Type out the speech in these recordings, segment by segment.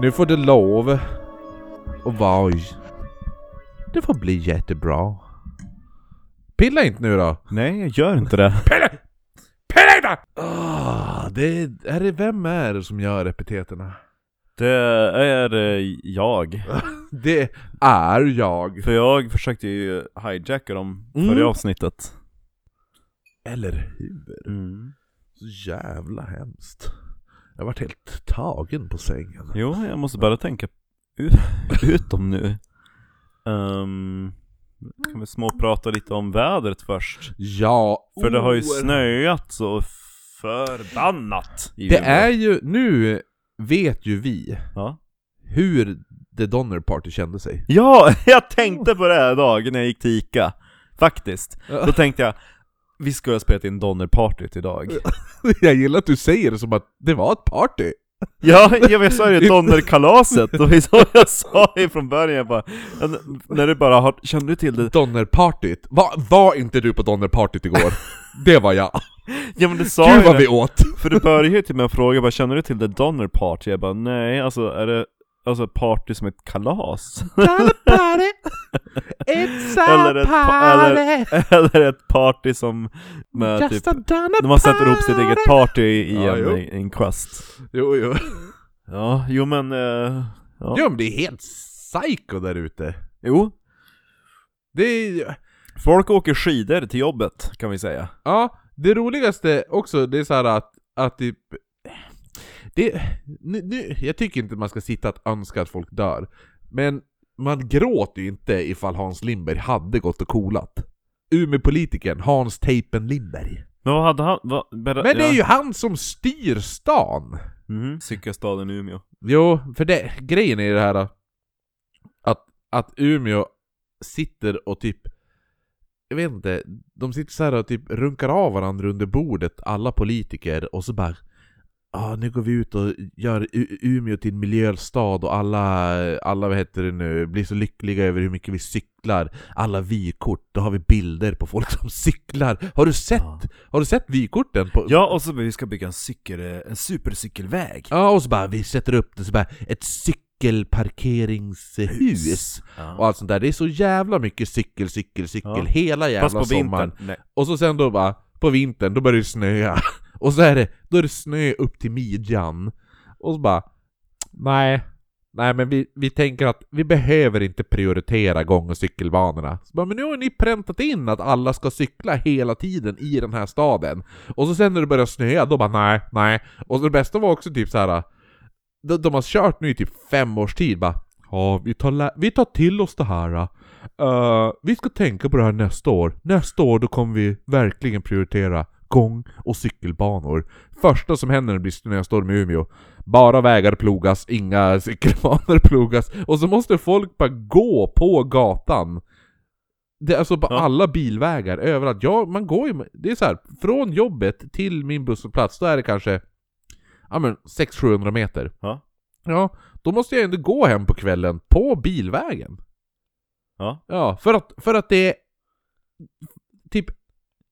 Nu får du lov och vaj. Det får bli jättebra. Pilla inte nu då! Nej, jag gör inte det. Pilla inte! Ah, det är, är det, vem är det som gör epiteterna? Det är eh, jag. Det är jag. För jag försökte ju hijacka dem Mm. förra avsnittet. Eller hur? Så jävla hemskt. Jag vart helt tagen på sängen. Jo, jag måste börja tänka ut, ut dem nu. Ehm, kan vi småprata lite om vädret först? Ja, Oh. För det har ju oerhört snöat så förbannat i Det Umeå. är ju, nu vet ju vi Ja. hur The Donner Party kände sig. Ja, jag tänkte på det här idag när jag gick till Ica. Faktiskt. Då tänkte jag, vi skulle ha spelat in Donnerpartyt idag. Jag gillar att du säger det som att det var ett party. Ja, jag, jag sa ju Donnerkalaset, det var så jag sa ju från början jag bara, n- När du bara har, kände du till det? Donnerpartyt. Va, var inte du på Donnerpartyt igår? Det var jag. Ja men du sa Gud ju vad vi det, åt! för du började ju till med att fråga bara, känner du till det Donnerparty? Jag bara, nej, alltså är det Alltså party som ett kalas? party! It's Eller ett pa- eller- Eller ett party som med typ, Donner När man sätter ihop sitt eget party i Ja, en, jo. i en quest Jo, jo. Ja, jo men... eh, ja. Jo men det är helt psycho där ute. Jo, Det är ju- folk åker skidor till jobbet kan vi säga Ja, det roligaste också, det är så här att, att typ... Det, nu, nu, jag tycker inte man ska sitta och önska att folk dör. Men man gråter ju inte ifall Hans Lindberg hade gått och kolat. Umeåpolitikern Hans Tejpen Lindberg. Men vad hade han? Vad, berä- Men det ja. är ju han som styr stan! Mhm. Cykelstaden Umeå Jo, för det, grejen är det här att, att Umeå sitter och typ jag vet inte, de sitter så här och typ runkar av varandra under bordet, alla politiker, och så bara Ja, nu går vi ut och gör U- Umeå till en miljöstad och alla, alla vad heter det nu, blir så lyckliga över hur mycket vi cyklar. Alla vykort, då har vi bilder på folk som cyklar. Har du sett, Ja. har du sett vykorten? På, Ja, och så vi ska bygga en cykel, en supercykelväg Ja, och så bara vi sätter upp det så bara ett cykelparkeringshus och ja. allt sånt där. Det är så jävla mycket cykel, cykel, cykel Ja. hela jävla Fast på sommaren. vintern, nej Och så sen då bara på vintern, då börjar det snöa. Och så är det, då är det snö upp till midjan. Och så bara nej, nej men vi, vi tänker att vi behöver inte prioritera gång och cykelbanorna. Så bara, men nu har ni präntat in att alla ska cykla hela tiden i den här staden. Och så sen när det börjar snöa, då bara nej, nej. Och så det bästa var också typ så här. De, de har kört nu i typ fem års tid bara Ja, vi tar, lä- vi tar till oss det här. eh. Eh, vi ska tänka på det här nästa år. Nästa år då kommer vi verkligen prioritera gång och cykelbanor. Första som händer när det blir snöstorm i Umeå, bara vägar plogas, inga cykelbanor plogas. Och så måste folk bara gå på gatan. Det är alltså på Ja. alla bilvägar, överallt. Ja, man går ju... Det är så här, från jobbet till min busshållplats, då är det kanske ja, men 600-700 meter. Ja. ja, då måste jag ändå gå hem på kvällen på bilvägen. Ja. Ja, för att, för att det är typ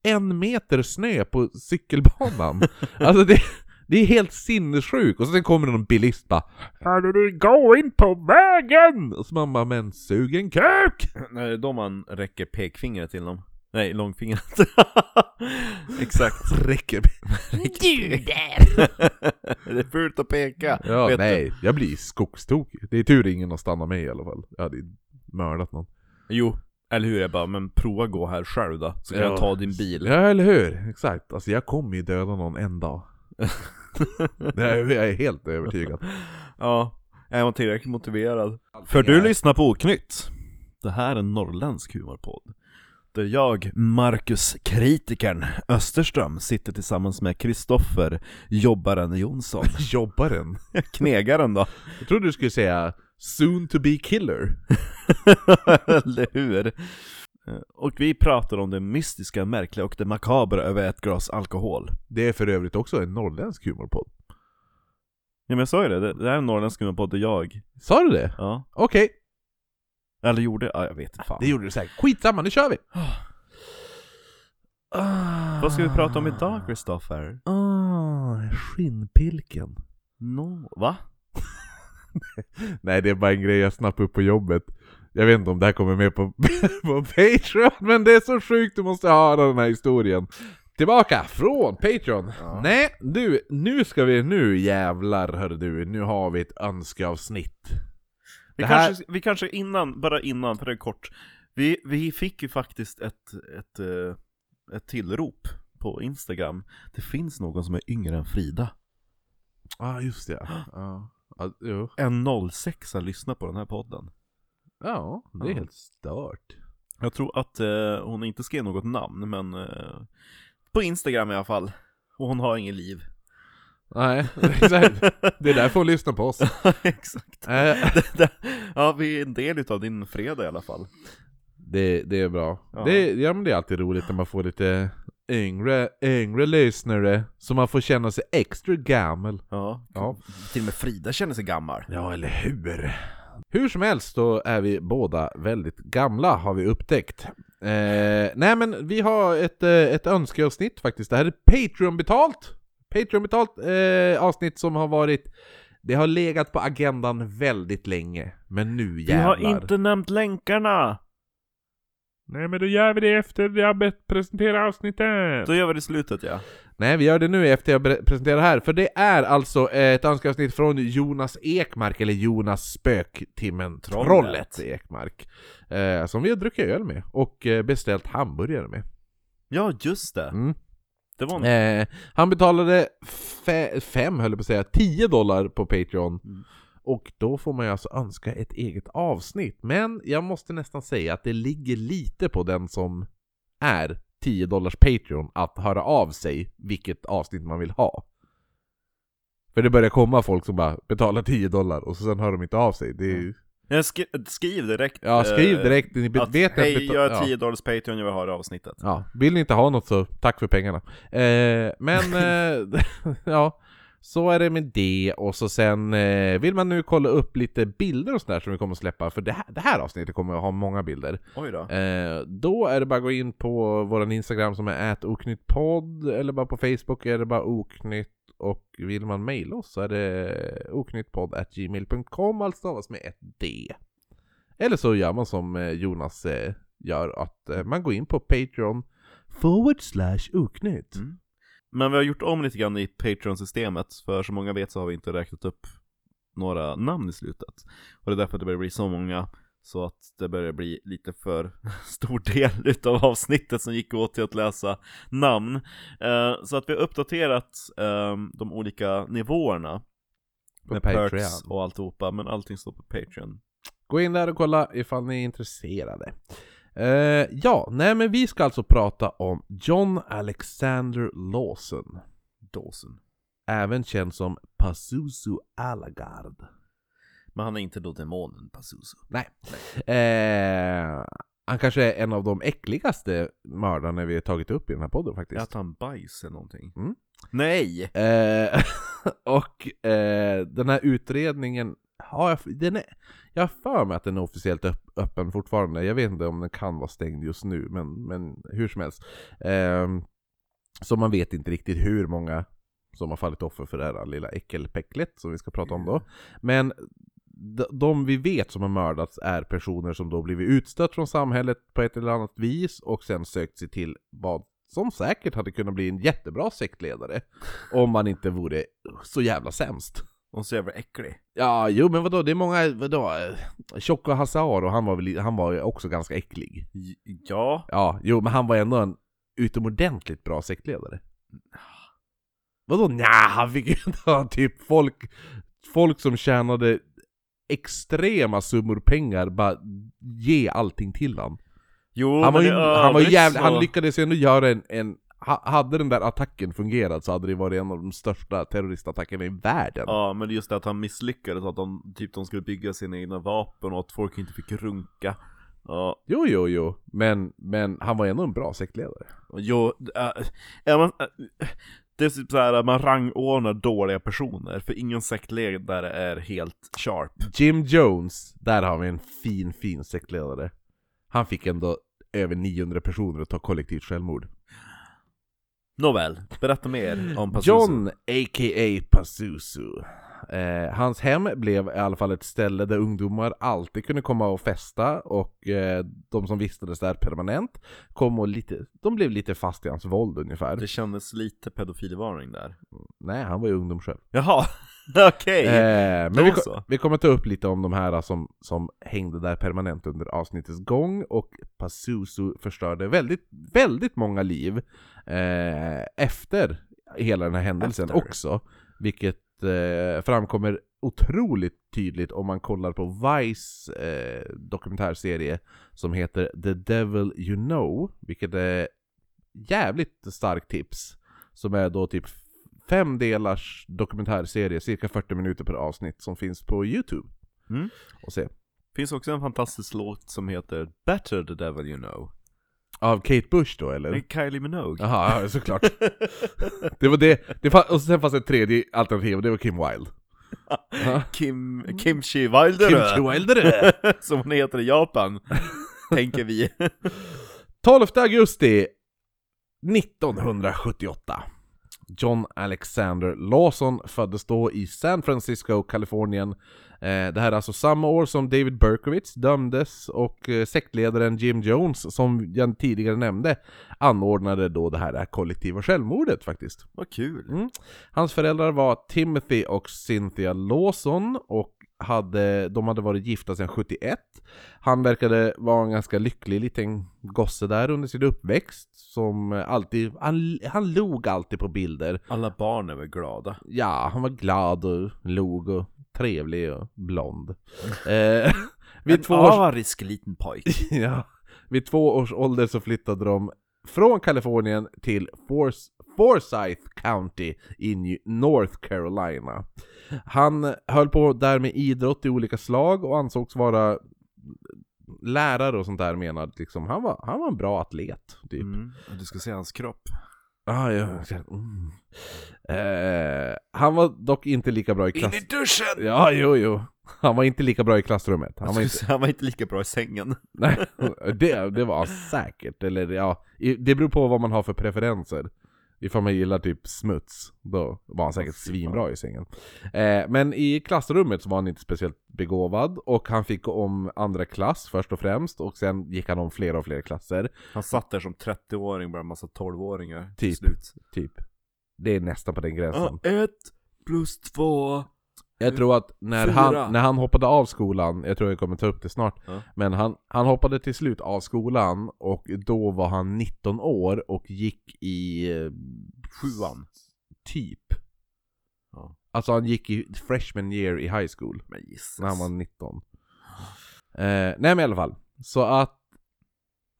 en meter snö på cykelbanan. alltså det, det är helt sinnessjukt. Och sen kommer det någon bilist bara Hörru du, gå in på vägen! Och så man bara, men sug en kuk! Nej, det är då man räcker pekfingret till dem Nej, långfingret Exakt Räcker Du där! det är fult att peka Ja, vet du. nej. Jag blir skogstokig. Det är tur ingen har stannat mig i alla fall. Jag hade ju mördat någon. Jo, eller hur? Jag bara, men prova gå här själv då, så kan Ja. jag ta din bil. Ja, eller hur? Exakt. Alltså jag kommer ju döda någon en dag. Nej, jag är helt övertygad. ja, är man tillräckligt motiverad? För du lyssnar på Oknytt. Det här är en norrländsk humorpodd. Där jag, Marcus Kritikern Österström, sitter tillsammans med Kristoffer Jobbaren Jonsson. Jobbaren. Knegaren då, Jag trodde du skulle säga soon to be killer. eller hur? Och vi pratar om det mystiska, märkliga och det makabra över ett glas alkohol. Det är för övrigt också en norrländsk humorpodd. Ja men jag sa ju det, det det här är en norrländsk humorpodd där jag, Sa du det? ja, Okej. Eller gjorde ja, jag vet inte fan. Det gjorde du säkert. Skitsamma, nu kör vi! Vad ska vi prata om idag Kristoffer? Ah, skinnpilken. No, va? Nej, det är bara en grej jag snappade upp på jobbet. Jag vet inte om det här kommer med på, på Patreon, men det är så sjukt, du måste höra den här historien. Tillbaka från Patreon! Ja. Nej, du, nu ska vi, nu jävlar hör du, nu har vi ett önskeavsnitt. Vi, Det här- kanske, vi kanske innan, bara innan, för det är kort. Vi, vi fick ju faktiskt ett, ett, eh, ett tillrop på Instagram. Det finns någon som är yngre än Frida. Ja, ah, just det. Ja, ah, jo. En 06 lyssnar på den här podden. ja det är Ja. helt stört. Jag tror att eh, hon inte skrev något namn, men eh, på Instagram i alla fall. Och hon har inget liv. Nej, exakt. Det är därför hon lyssnar på oss. Exakt. Eh, Det- det- ja, vi är en del utav din fredag i alla fall. Det, det är bra. Ja. Det, ja, men det är alltid roligt när man får lite yngre, yngre lyssnare, så man får känna sig extra gammal. Ja. Ja. Till och med Frida känner sig gammal. ja, eller hur? Hur som helst då är vi båda väldigt gamla, har vi upptäckt. Eh, nej men vi har ett, eh, ett önskeavsnitt faktiskt, det här är Patreon-betalt! Patreon-betalt eh, avsnitt som har varit, det har legat på agendan väldigt länge, men nu jävlar. nämnt länkarna! Nej men då gör vi det efter vi har bett presentera avsnittet! Då gör vi det i slutet ja. Nej, vi gör det nu efter jag bre- presenterar här, för det är alltså ett önskeavsnitt från Jonas Ekmark, eller Jonas Spöktimmen Trollet, Trollet Ekmark, eh, som vi har druckit öl med och eh, beställt hamburgare med. Ja, just det. Mm. Det var en... Eh, han betalade 5, fem höll jag på att säga, 10 dollar på Patreon. Mm. Och då får man ju alltså önska ett eget avsnitt. Men jag måste nästan säga att det ligger lite på den som är 10 dollars Patreon att höra av sig vilket avsnitt man vill ha. För det börjar komma folk som bara betalar 10 dollar och så sen hör de inte av sig. Det är ju... Eh, skri- Skriv direkt. Ja, skriv eh, direkt. Ni att, vet att hej, beta- jag ja. är 10 dollars Patreon, jag vill höra avsnittet. Ja, vill ni inte ha något så tack för pengarna. Eh, men eh, ja, så är det med det och så sen eh, vill man nu kolla upp lite bilder och sådär som vi kommer att släppa för det här, det här avsnittet kommer att ha många bilder. Oj då. Eh, då är det bara att gå in på våran Instagram som är oknyttpodd eller bara på Facebook är det bara oknytt och vill man mejla oss så är det oknyttpodd.gmail.com allt stavas med ett D. Eller så gör man som eh, Jonas eh, gör att eh, man går in på Patreon forward slash oknytt. Mm. Men vi har gjort om lite grann i Patreon-systemet, för som många vet så har vi inte räknat upp några namn i slutet. Och det är därför att det börjar bli så många, så att det börjar bli lite för stor del utav avsnittet som gick åt till att läsa namn. Eh, Så att vi har uppdaterat eh, de olika nivåerna På med Patreon. perks och alltihopa, men allting står på Patreon. Gå in där och kolla ifall ni är intresserade. Eh, ja, nej men vi ska alltså prata om John Alexander Lawson. Dawson. även känd som Pazuzu Alagard. Men han är inte då demonen Pazuzu. Nej. Eh, han kanske är en av de äckligaste mördarna vi har tagit upp i den här podden Är faktiskt. att han bajs eller någonting? Mm. Nej! Eh, och eh, den här utredningen har jag, den är, jag har för mig att den är officiellt öpp, öppen fortfarande. Jag vet inte om den kan vara stängd just nu, men, men hur som helst. Ehm, så man vet inte riktigt hur många som har fallit offer för det här lilla äckelpäcklet som vi ska prata om då. Men d- de vi vet som har mördats är personer som då blivit utstött från samhället på ett eller annat vis och sen sökt sig till vad som säkert hade kunnat bli en jättebra sektledare om man inte vore så jävla sämst. Och så jävla äcklig. Ja, jo men vadå, det är många, vadå, Tjocko Hazar och han var väl, han var ju också ganska äcklig. J- Ja, Ja, jo men han var ändå en utomordentligt bra sektledare. Vadå nja, han fick ju ta typ folk, folk som tjänade extrema summor pengar, bara ge allting till han. Jo, Han var, men ju, i övrigt han, var jävla, så- han lyckades ju ändå göra en, en ha- hade den där attacken fungerat så hade det varit en av de största terroristattackerna i världen. Ja, men det är just det att han misslyckades, att de, typ, de skulle bygga sina egna vapen och att folk inte fick runka. Ja, Jo, jo, jo. Men, men han var ändå en bra sektledare. och jo, äh, är man, äh, det är typ så här att man rangordnar dåliga personer, för ingen sektledare är helt sharp. Jim Jones, där har vi en fin, fin sektledare. Han fick ändå över 900 personer att ta kollektivt självmord. Nåväl, berätta mer om Pazuzu. John, a.k.a. Pazuzu. Eh, hans hem blev i alla fall ett ställe där ungdomar alltid kunde komma och festa och eh, de som vistades där permanent kom och lite, de blev lite fast i hans våld ungefär. Det kändes lite pedofilvarning där. Nej, han var ju ungdom själv. Jaha, okej! Eh, det men vi, var ko- så. vi kommer ta upp lite om de här som, som hängde där permanent under avsnittets gång och Pazuzu förstörde väldigt, väldigt många liv eh, efter hela den här händelsen Efter. också. Vilket eh, framkommer otroligt tydligt om man kollar på Vice eh, dokumentärserie som heter The Devil You Know, vilket är jävligt starkt tips. Som är då typ fem delars dokumentärserie, cirka 40 minuter per avsnitt, som finns på Youtube. Mm. Och se. Finns också en fantastisk låt som heter Better the Devil You Know. Av Kate Bush då Det är eller? Kylie Minogue. Jaha, ja, såklart. Det var det, det fann, och sen fanns det ett tredje alternativ och det var Kim Wilde. Ja. Kim, Mm. Kimchi Kim Wilderö, Wilde som hon heter i Japan, tänker vi. 12 augusti 1978. John Alexander Lawson föddes då i San Francisco, Kalifornien. Eh, det här är alltså samma år som David Berkowitz dömdes och eh, sektledaren Jim Jones, som jag tidigare nämnde, anordnade då det här, det här kollektiva självmordet faktiskt. Vad kul. Mm. Hans föräldrar var Timothy och Cynthia Lawson och hade, de hade varit gifta sedan 71. Han verkade vara en ganska lycklig liten gosse där under sin uppväxt. Som alltid, han, han log alltid på bilder. Alla barn är väl glada. Ja, han var glad och log och trevlig och blond. eh, vid två års arisk liten typ. pojk. Ja. Vid två års ålder så flyttade de från Kalifornien till Fors Forsyth County i New- North Carolina. Han höll på där med idrott i olika slag och ansågs vara lärare och sånt där menad. Liksom. Han, var, han var en bra atlet, typ. Mm. Du ska se hans kropp. Ah, ja. mm. eh, han var dock inte lika bra i klass... duschen! Ja, jo, jo. Han var inte lika bra i klassrummet. Han var Han var, inte... inte... han var inte lika bra i sängen. Nej, det, det var säkert. Eller ja, i- det beror på vad man har för preferenser. Ifall man gillar typ smuts, då var han säkert svinbra i sängen. Eh, men i klassrummet så var han inte speciellt begåvad och han fick gå om andra klass först och främst och sen gick han om fler och fler klasser. Han satt där som 30-åring bland en massa 12-åringar. till Typ. Slut. Typ. Det är nästan på den gränsen. ett plus två. Jag tror att när Fyra. han, när han hoppade av skolan, jag tror jag kommer ta upp det snart, Ja. men han, han hoppade till slut av skolan och då var han 19 år och gick i eh, Sjuan. typ. Ja. Alltså han gick i freshman year i high school Men Jesus. när han var 19. Eh, nej men i alla fall. Så att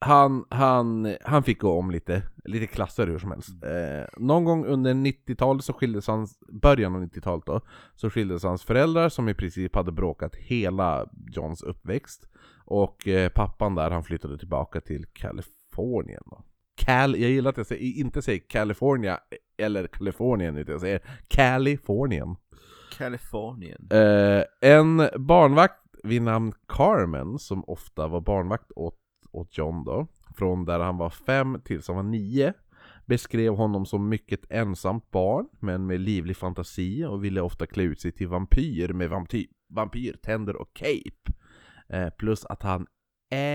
han, han, han fick gå om lite, lite klasser hur som helst. Eh, någon gång under 90-talet så skildes hans, början av 90-talet då, så skildes hans föräldrar som i princip hade bråkat hela Johns uppväxt. Och eh, pappan där, han flyttade tillbaka till Kalifornien. Då. Cal, jag gillar att jag säger, inte säger California eh, eller Kalifornien utan jag säger Kalifornien. Kalifornien. Eh, en barnvakt vid namn Carmen, som ofta var barnvakt åt, åt John då, från där han var fem tills han var nio, beskrev honom som mycket ensamt barn, men med livlig fantasi och ville ofta klä ut sig till vampyr med vampy- vampyrtänder och cape. Eh, plus att han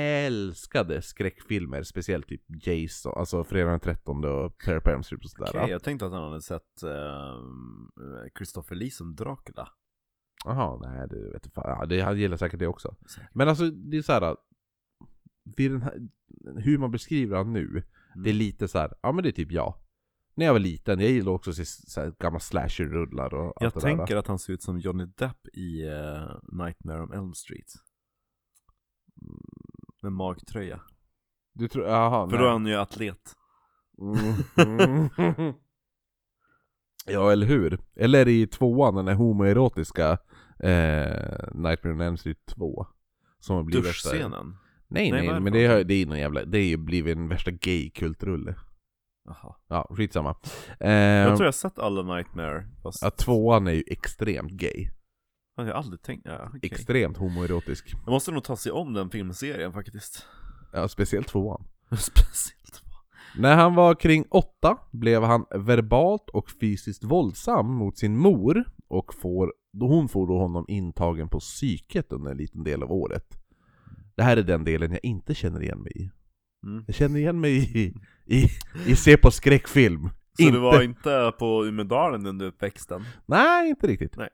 älskade skräckfilmer, speciellt typ Jason, alltså Fredag den 13 och Terry Palm Street och sådär. Okej, jag tänkte att han hade sett ehm, Christopher Lee som Dracula. Jaha, nej det vet jag fan. Ja, det, han gillar säkert det också. Men alltså det är så här. Vid den här hur man beskriver han nu, Mm. det är lite så här, ja men det är typ jag. När jag var liten, jag gillade också att se så här, gamla slasher-rullar och allt Jag det tänker där. att han ser ut som Johnny Depp i eh, Nightmare on Elm Street. Mm, Med magtröja. Du tror, jaha, För nej. då är han ju atlet. Mm. ja, eller hur? Eller i tvåan, den här homoerotiska eh, Nightmare on Elm Street 2. Som har blivit värsta- Duschscenen. Nej, Nej, nej, vad är det men för det, har- det är någon jävla, det är ju blivit en värsta gay-kultrulle. Jaha. Ja, skitsamma. Eh, Jag tror jag har sett alla Nightmare. Fast att tvåan är ju extremt gay. jag har aldrig tänkt. Ja, okej. Extremt homoerotisk. Jag måste nog ta sig om den filmserien faktiskt. Ja, speciellt tvåan. Speciellt. När han var kring åtta blev han verbalt och fysiskt våldsam mot sin mor och får Då hon får då honom intagen på psyket under en liten del av året. Det här är den delen jag inte känner igen mig i. Mm. Jag känner igen mig i, i, i se på skräckfilm. Så Inte. du var inte på Umedalen under uppväxten? Nej, inte riktigt. Nej.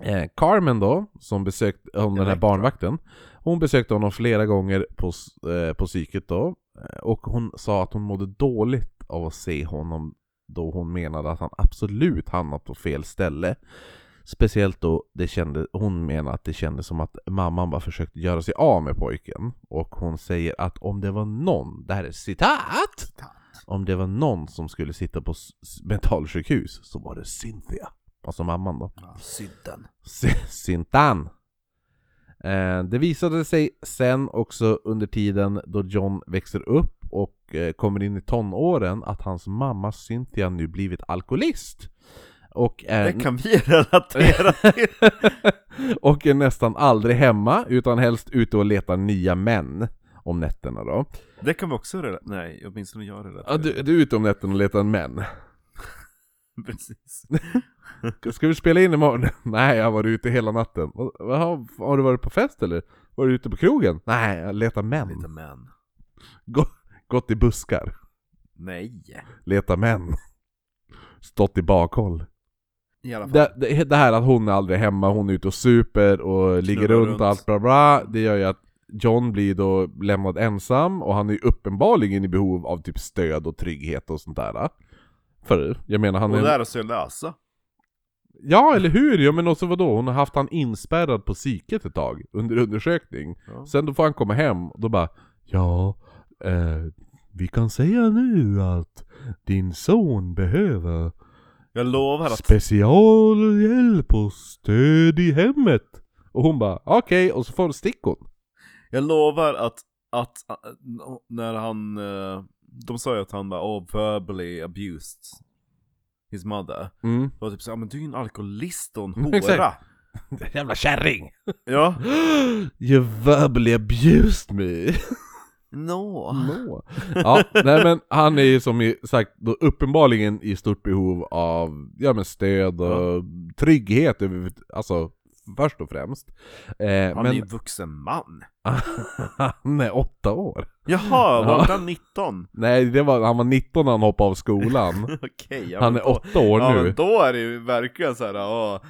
Eh, Carmen då, som besökte hon den här Direkt, barnvakten, hon besökte honom flera gånger på, s- eh, på psyket då, eh, och hon sa att hon mådde dåligt av att se honom då hon menade att han absolut hamnat på fel ställe. Speciellt då det kände, hon menade att det kändes som att mamman bara försökte göra sig av med pojken. Och hon säger att om det var någon, det här är citat! Om det var någon som skulle sitta på s- s- mentalsjukhus så var det Cynthia. Alltså mamman då. Sydden. S- Syntan! Eh, det visade sig sen också under tiden då John växer upp och eh, kommer in i tonåren att hans mamma Cynthia nu blivit alkoholist. Och är, Det kan vi relatera till. och är nästan aldrig hemma utan helst ute och letar nya män om nätterna då. Det kan vi också relatera Nej, åtminstone jag Ja, relaterar du, du är ute om nätterna och letar män. Precis. Ska vi spela in imorgon? Nej, jag har varit ute hela natten. Jaha, har du varit på fest eller? Var du ute på krogen? Nej, jag letar män. Lite män. Gått i buskar. Nej. Letar män. Stått i bakhåll. I alla fall. Det, det, det här att hon är aldrig hemma, hon är ute och super och ligger runt, runt. och allt bla bla. Det gör ju att John blir då lämnad ensam och han är ju uppenbarligen i behov av typ stöd och trygghet och sånt där. För jag menar han Och är... där är så lösa. Ja, eller hur? Ja, men också vadå? Hon har haft han inspärrad på psyket ett tag under undersökning. Ja. Sen då får han komma hem och då bara Ja, eh, vi kan säga nu att din son behöver Jag lovar att specialhjälp och stöd i hemmet. Och hon bara okej, och så får stick hon. Jag lovar att, att att när han, eh, de sa ju att han var oh, verbally abused his mother. Mm. Det var typ såhär, men du är ju en alkoholist och en Mm, hora. exakt. Jävla kärring! ja. You verbally abused me! No. Nå. Ja, nej men han är ju som i- sagt då uppenbarligen i stort behov av ja, men stöd och trygghet, över- alltså först och främst. Eh, Han är men ju en vuxen man. han är åtta år. Jaha, var Ja. inte han 19? Nej, det var, han var 19 när han hoppade av skolan. Okej, ja, Han men är då- åtta år Ja nu. men då är det ju verkligen såhär, ja.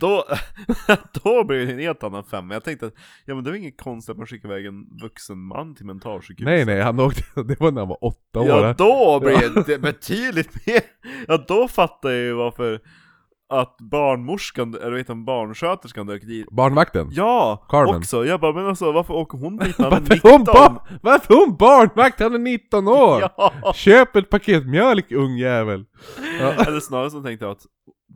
Då, då blir det en helt annan femma. Jag tänkte att, ja men det är väl inget konstigt att man skickar iväg en vuxen man till mentalsjukhus. Nej nej, han åkte, det var när han var åtta år. Ja då blir det betydligt mer, ja då fattar jag ju varför att barnmorskan, eller vet du, barnsköterskan dök dit Barnvakten. Ja! Carmen. Också! Jag bara men alltså varför åker hon dit när han är Varför hon, 19? bar, varför hon barnvakt? Han är 19 år! Ja! Köp ett paket mjölk ungjävel! Ja. Eller snarare så tänkte jag att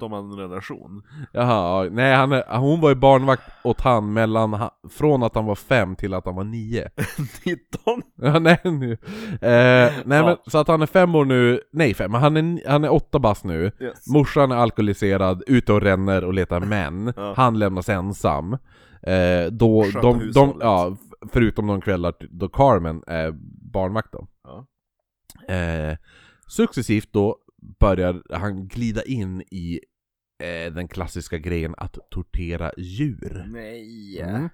de hade en relation Jaha, ja. nej han är, hon var ju barnvakt åt han mellan, ha- från att han var fem till att han var nio. 19? Ja, nej nu. Eh, nej Ja. men så att han är fem år nu, nej fem, men han är, han är åtta bast nu. Yes. Morsan är alkoholiserad, ute och ränner och letar män. Ja. Han lämnas ensam. Eh, då, Sköter de, de, hushållet. ja, f- förutom de kvällar t- då Carmen är barnvakt då. Ja. Eh, successivt då börjar han glida in i eh, den klassiska grejen att tortera djur. Nej! Mm.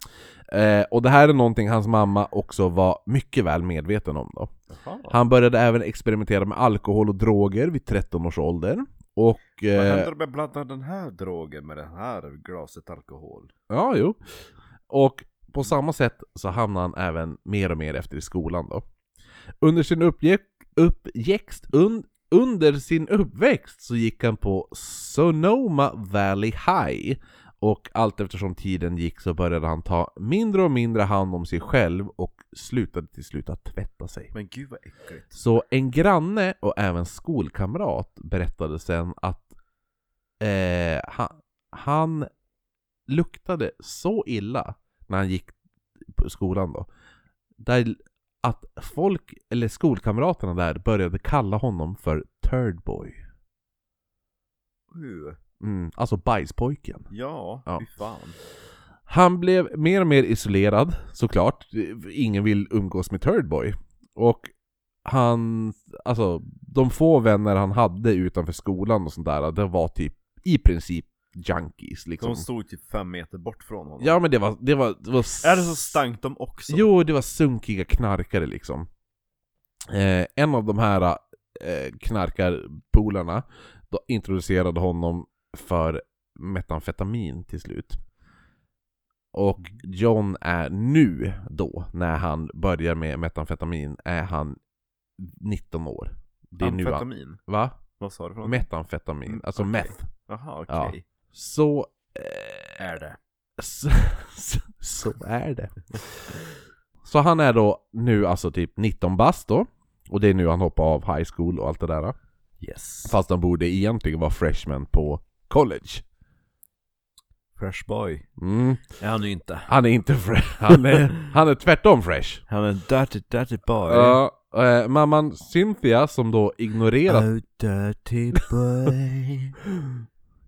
Eh, och det här är någonting hans mamma också var mycket väl medveten om då. Jaha. Han började även experimentera med alkohol och droger vid 13 års ålder. Och... Vad eh, händer om jag blandar den här drogen med det här glaset alkohol? Ja, jo. Och på samma sätt så hamnar han även mer och mer efter i skolan då. Under sin uppgick, uppväxt, un, under sin uppväxt så gick han på Sonoma Valley High och allt eftersom tiden gick så började han ta mindre och mindre hand om sig själv och slutade till slut att tvätta sig. Men gud vad äckligt Så en granne och även skolkamrat berättade sen att eh, han, han luktade så illa när han gick på skolan då. Där att folk, eller skolkamraterna där, började kalla honom för Third Boy. Uh, Mm, alltså bajspojken. Ja, Ja. fy fan Han blev mer och mer isolerad, såklart. Ingen vill umgås med Thirdboy. Och han, alltså de få vänner han hade utanför skolan och sånt där, det var typ i princip junkies liksom. De stod typ fem meter bort från honom. Ja men det var, det var, det var Är det så stank de också? Jo, det var sunkiga knarkare liksom. Eh, en av de här eh, knarkarpolarna då introducerade honom för metamfetamin till slut. Och John är nu då, när han börjar med metamfetamin, är han 19 år. Det är nu han... Amfetamin? Va? Vad sa du för något? Metamfetamin, alltså Okej. meth. Jaha, okej. Ja. Så... Eh, Är det? så, så, så är det. Så han är då nu alltså typ 19 bast då. Och det är nu han hoppar av high school och allt det där. Yes. Fast han borde egentligen vara freshman på college. Fresh boy. Mm. Är han ju inte. Han är inte fresh. Han är, han är tvärtom fresh. Han är en dirty, dirty boy. Ja, eh, mamman Cynthia som då ignorerat... Oh, dirty boy.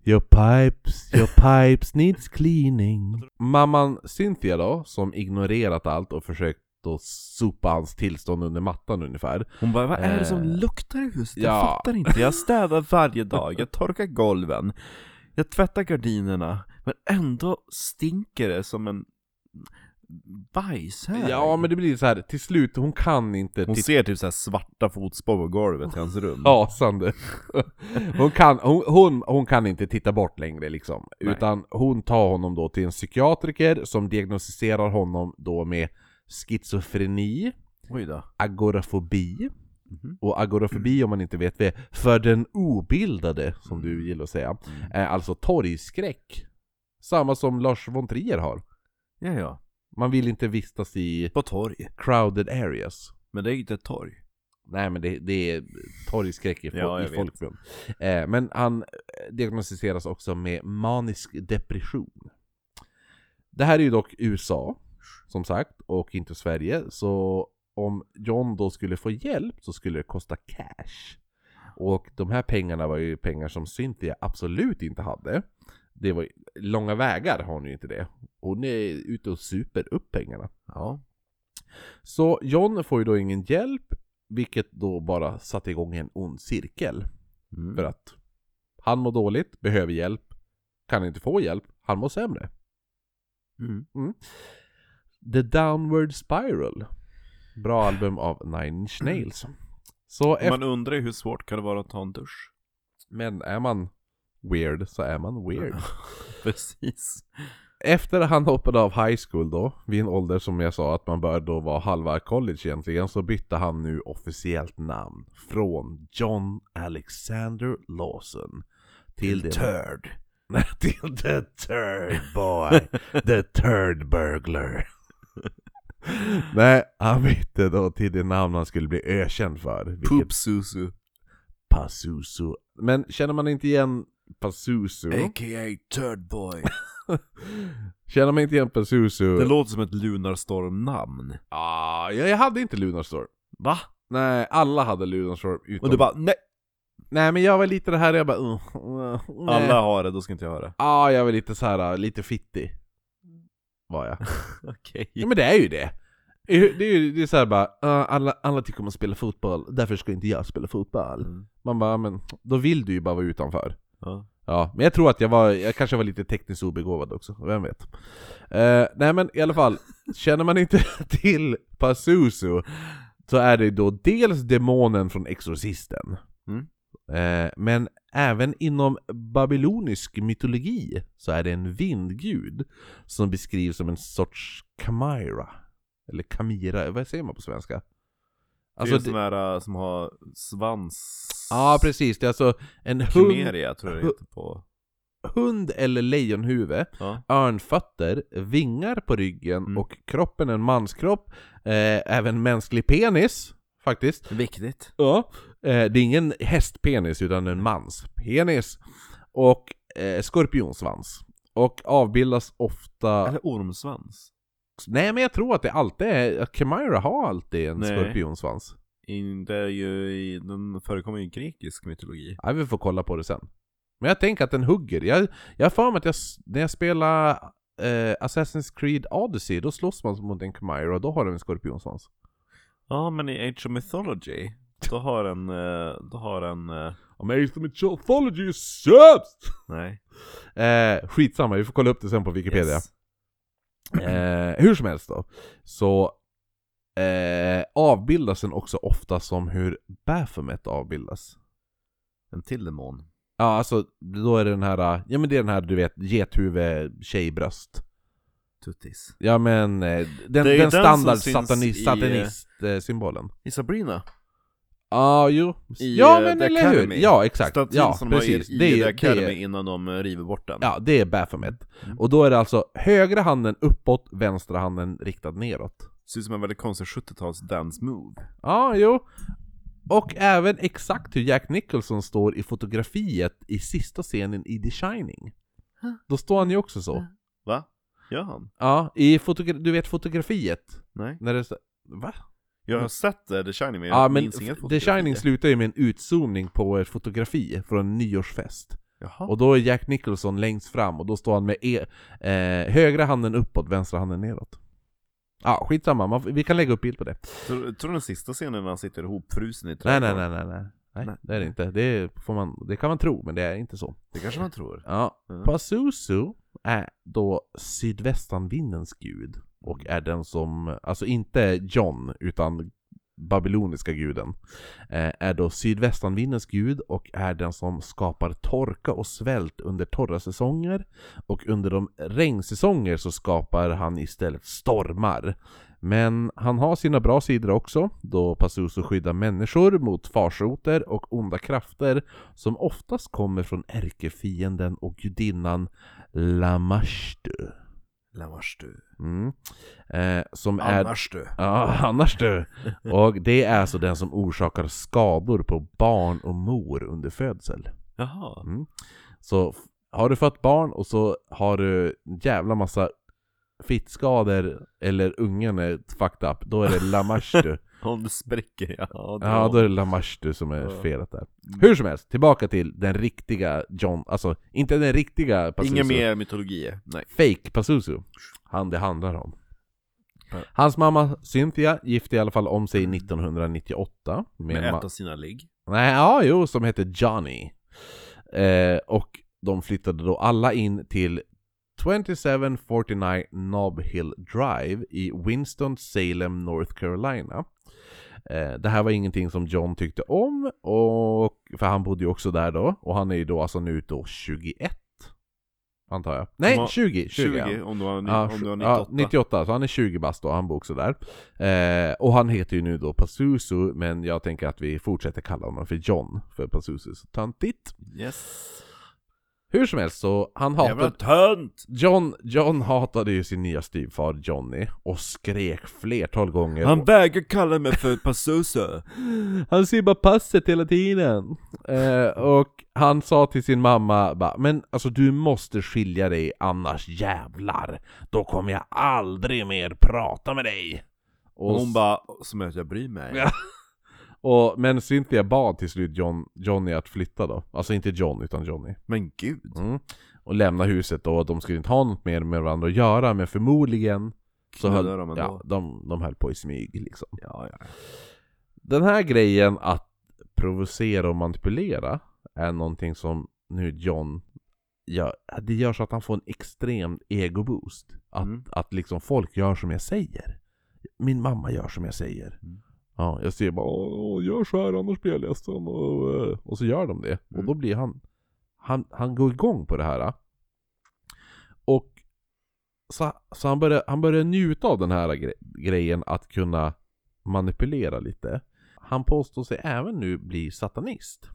Your pipes, your pipes needs cleaning. Mamman Cynthia då, som ignorerat allt och försökt då sopa hans tillstånd under mattan ungefär. Hon bara, vad är det som Eh. luktar i huset? Ja. Jag fattar inte. Jag städar varje dag, jag torkar golven, jag tvättar gardinerna, men ändå stinker det som en bajshög. Ja men det blir så här till slut, hon kan inte Hon titta ser typ så här svarta fotspår på golvet i hans rum. rasande. Hon kan, hon, hon, hon kan inte titta bort längre liksom. Nej. Utan hon tar honom då till en psykiatriker som diagnostiserar honom då med schizofreni, Oj då. agorafobi. Mhm. Och agorafobi om man inte vet det, för den obildade, som Mm. du gillar att säga, är alltså torgskräck. Samma som Lars von Trier har. Ja, ja. Man vill inte vistas i På torg. crowded areas. Men det är ju inte ett torg. Nej men det, det är torgskräck i, fol- Ja, jag i vet. folkmun. Eh, men han eh, diagnostiseras också med manisk depression. Det här är ju dock USA, som sagt, och inte Sverige. Så om John då skulle få hjälp så skulle det kosta cash. Och de här pengarna var ju pengar som Cynthia absolut inte hade. Det var ju, långa vägar har hon ju inte det. Hon är ute och super upp pengarna. Ja. Så John får ju då ingen hjälp, vilket då bara satte igång en ond cirkel. Mm. För att han mår dåligt, behöver hjälp, kan inte få hjälp, han mår sämre. Mm. The Downward Spiral. Bra album av Nine Inch Nails. Så efter, Mm. Man undrar ju hur svårt kan det vara att ta en dusch? men är man weird så är man weird. Precis. Efter han hoppade av high school då, vid en ålder som jag sa att man bör då vara halva college egentligen, så bytte han nu officiellt namn från John Alexander Lawson till det... Turd. Nej, till the third boy, the third burglar. Nej, han bytte då till det namn han skulle bli ökänd för. vilket- Poop susu. Pazuzu. Men känner man inte igen Pazuzu? A.k.a. Turd boy. Känner man inte igen Pazuzu? Det låter som ett Lunarstorm-namn. Ah, jag jag hade inte Lunarstorm. Va? Nej, alla hade Lunarstorm utom... Och du bara nej, Nej men jag var lite det här, jag bara... Uh, uh, nej. alla har det, då ska inte jag ha det. Ja, jag var lite så här, uh, lite fittig. Var jag. Okej. ja men det är ju det. Det är ju- det är ju det är så här bara, uh, alla, alla tycker om att spela fotboll, därför ska inte jag spela fotboll. Mm. Man bara, men då vill du ju bara vara utanför. Ja. Ja, men jag tror att jag var, jag kanske var lite tekniskt obegåvad också, vem vet? Eh, nej men i alla fall, känner man inte till Pazuzu så är det då dels demonen från Exorcisten, Mm. eh, men även inom babylonisk mytologi så är det en vindgud som beskrivs som en sorts Kamira. Eller Kamira, vad säger man på svenska? Alltså, det är en det- sån här äh, som har svans... Ja precis, det är alltså en hund, Kimeria tror jag det heter på. hund eller lejonhuvud Ja. örnfötter, vingar på ryggen Mm. och kroppen en manskropp, eh, även mänsklig penis faktiskt. Viktigt. Ja. Eh, det är ingen hästpenis utan en manspenis. Och eh, skorpionsvans. Och avbildas ofta... Eller ormsvans. Nej men jag tror att det alltid är... Chimera har alltid en Nej. skorpionsvans. In, det är ju, i, den förekommer ju i grekisk mytologi. Ja, vi får kolla på det sen. Men jag tänker att den hugger. Jag jag har för mig att jag, s- när jag spelar eh, Assassin's Creed Odyssey, då slåss man mot en Chimera och då har den en skorpionsvans. Ja, men i Age of Mythology, Då har en, eh, då har en, eh, Amazing mythology is sämst! nej. Eh, skitsamma, vi får kolla upp det sen på Wikipedia. Yes. Eh, hur som helst då, så eh, avbildas den också ofta som hur Baphomet avbildas. En till demon. Ja, alltså då är det den här, ja men det är den här du vet, gethuvud, tjejbröst. Tuttis. Ja men, eh, den, Det är ju den den standard som syns satani- i, eh, satanist-symbolen. I Sabrina. Ja, jo. I, ja eh, men The eller Academy. hur? Ja, exakt. Statyn Ja, som precis. de har i, det i är, The ju- Academy det är, innan de eh, river bort den. ja, det är Baphomet. Mm. Och då är det alltså högra handen uppåt, vänstra handen riktad neråt. Ser ut som en väldigt konstig 70-tals dance move. Ja, jo. Och även exakt hur Jack Nicholson står i fotografiet i sista scenen i The Shining. Då står han ju också så. Va? Gör han? Ja, i fotogra- du vet fotografiet? Nej. När det så- Va? Mm. Jag har sett eh, The Shining men jag Ja, men minns inget The fotografi. Shining slutar ju med en utzoomning på ett fotografi från en nyårsfest. Jaha. Och då är Jack Nicholson längst fram och då står han med e- eh, högra handen uppåt, vänstra handen neråt. Ja, skitsamma. Man, f- vi kan lägga upp bild på det. Tror, tror du den sista scenen när han sitter ihopfrusen i Nej, trädgården? nej, nej, nej, nej. Nej, Nej. det är det inte. Det, får man, det kan man tro, men det är inte så. Det kanske man tror. Ja, Mm. Pazuzu är då sydvästanvindens gud och är den som, alltså inte John utan babyloniska guden, eh, är då sydvästanvindens gud och är den som skapar torka och svält under torra säsonger och under de regnsäsonger så skapar han istället stormar. Men han har sina bra sidor också, då Pazuzu skyddar människor mot farsoter och onda krafter som oftast kommer från ärkefienden och gudinnan Lamashtu. Annars du. Mm. Eh, som är... Annars du. Ja, annars du! Och det är alltså den som orsakar skador på barn och mor under födsel. Jaha. Så f- har du fött barn och så har du en jävla massa fittskador eller ungen är fucked up, då är det Lamashtu. Om det spricker ja. då- Ja, då är det Lamashtu som är Ja. Mm. felet där. Hur som helst, tillbaka till den riktiga John, alltså inte den riktiga Pazuzu. Inga mer mytologier. Nej. Fake Pazuzu. Han det handlar om. Ja. Hans mamma Cynthia gifte i alla fall om sig 1998 med, Med en ma- ett av sina ligg. Nej, ja, jo, som hette Johnny. Eh, och de flyttade då alla in till 2749 Nob Hill Drive i Winston-Salem, North Carolina. Eh, det här var ingenting som John tyckte om, och, för han bodde ju också där då. Och han är ju då alltså nu då 21, antar jag. Nej, De har- 20! 20, 20 ja. om du har, ni- Ja, om du har 98. ja, 98, så han är 20 bast och han bor också där. Eh, och han heter ju nu då Pazuzu, men jag tänker att vi fortsätter kalla honom för John, för Pazuzu är så töntigt. Yes. Hur som helst så, han Jävla hatade... tönt! John, John hatade ju sin nya styvfar Johnny och skrek flertal gånger. Han vägrar kalla mig för Pazuzu. Han ser bara passet hela tiden. Eh, och han sa till sin mamma bara, men alltså du måste skilja dig annars jävlar, då kommer jag aldrig mer prata med dig. Och Och, hon bara, som att jag bryr mig. Ja. och, men Cynthia bad till slut John, Johnny att flytta då, alltså inte John utan Johnny. Men gud. Mm. Och lämna huset då, de skulle inte ha något mer med varandra att göra, men förmodligen så höll, Knullar de ändå. ja, de, de höll på i smyg liksom. Ja, ja. Den här grejen att provocera och manipulera är någonting som nu John gör, det gör så att han får en extrem egoboost. Att, Mm. att liksom folk gör som jag säger. Min mamma gör som jag säger. Mm. Ja, jag säger bara "Åh, åh, gör så här annars blir jag ledsen. Och, eh, och så gör de det. Och Mm. då blir han, han, han går igång på det här. eh. Och så, så han börjar han börjar njuta av den här gre- grejen att kunna manipulera lite. Han påstår sig även nu bli satanist.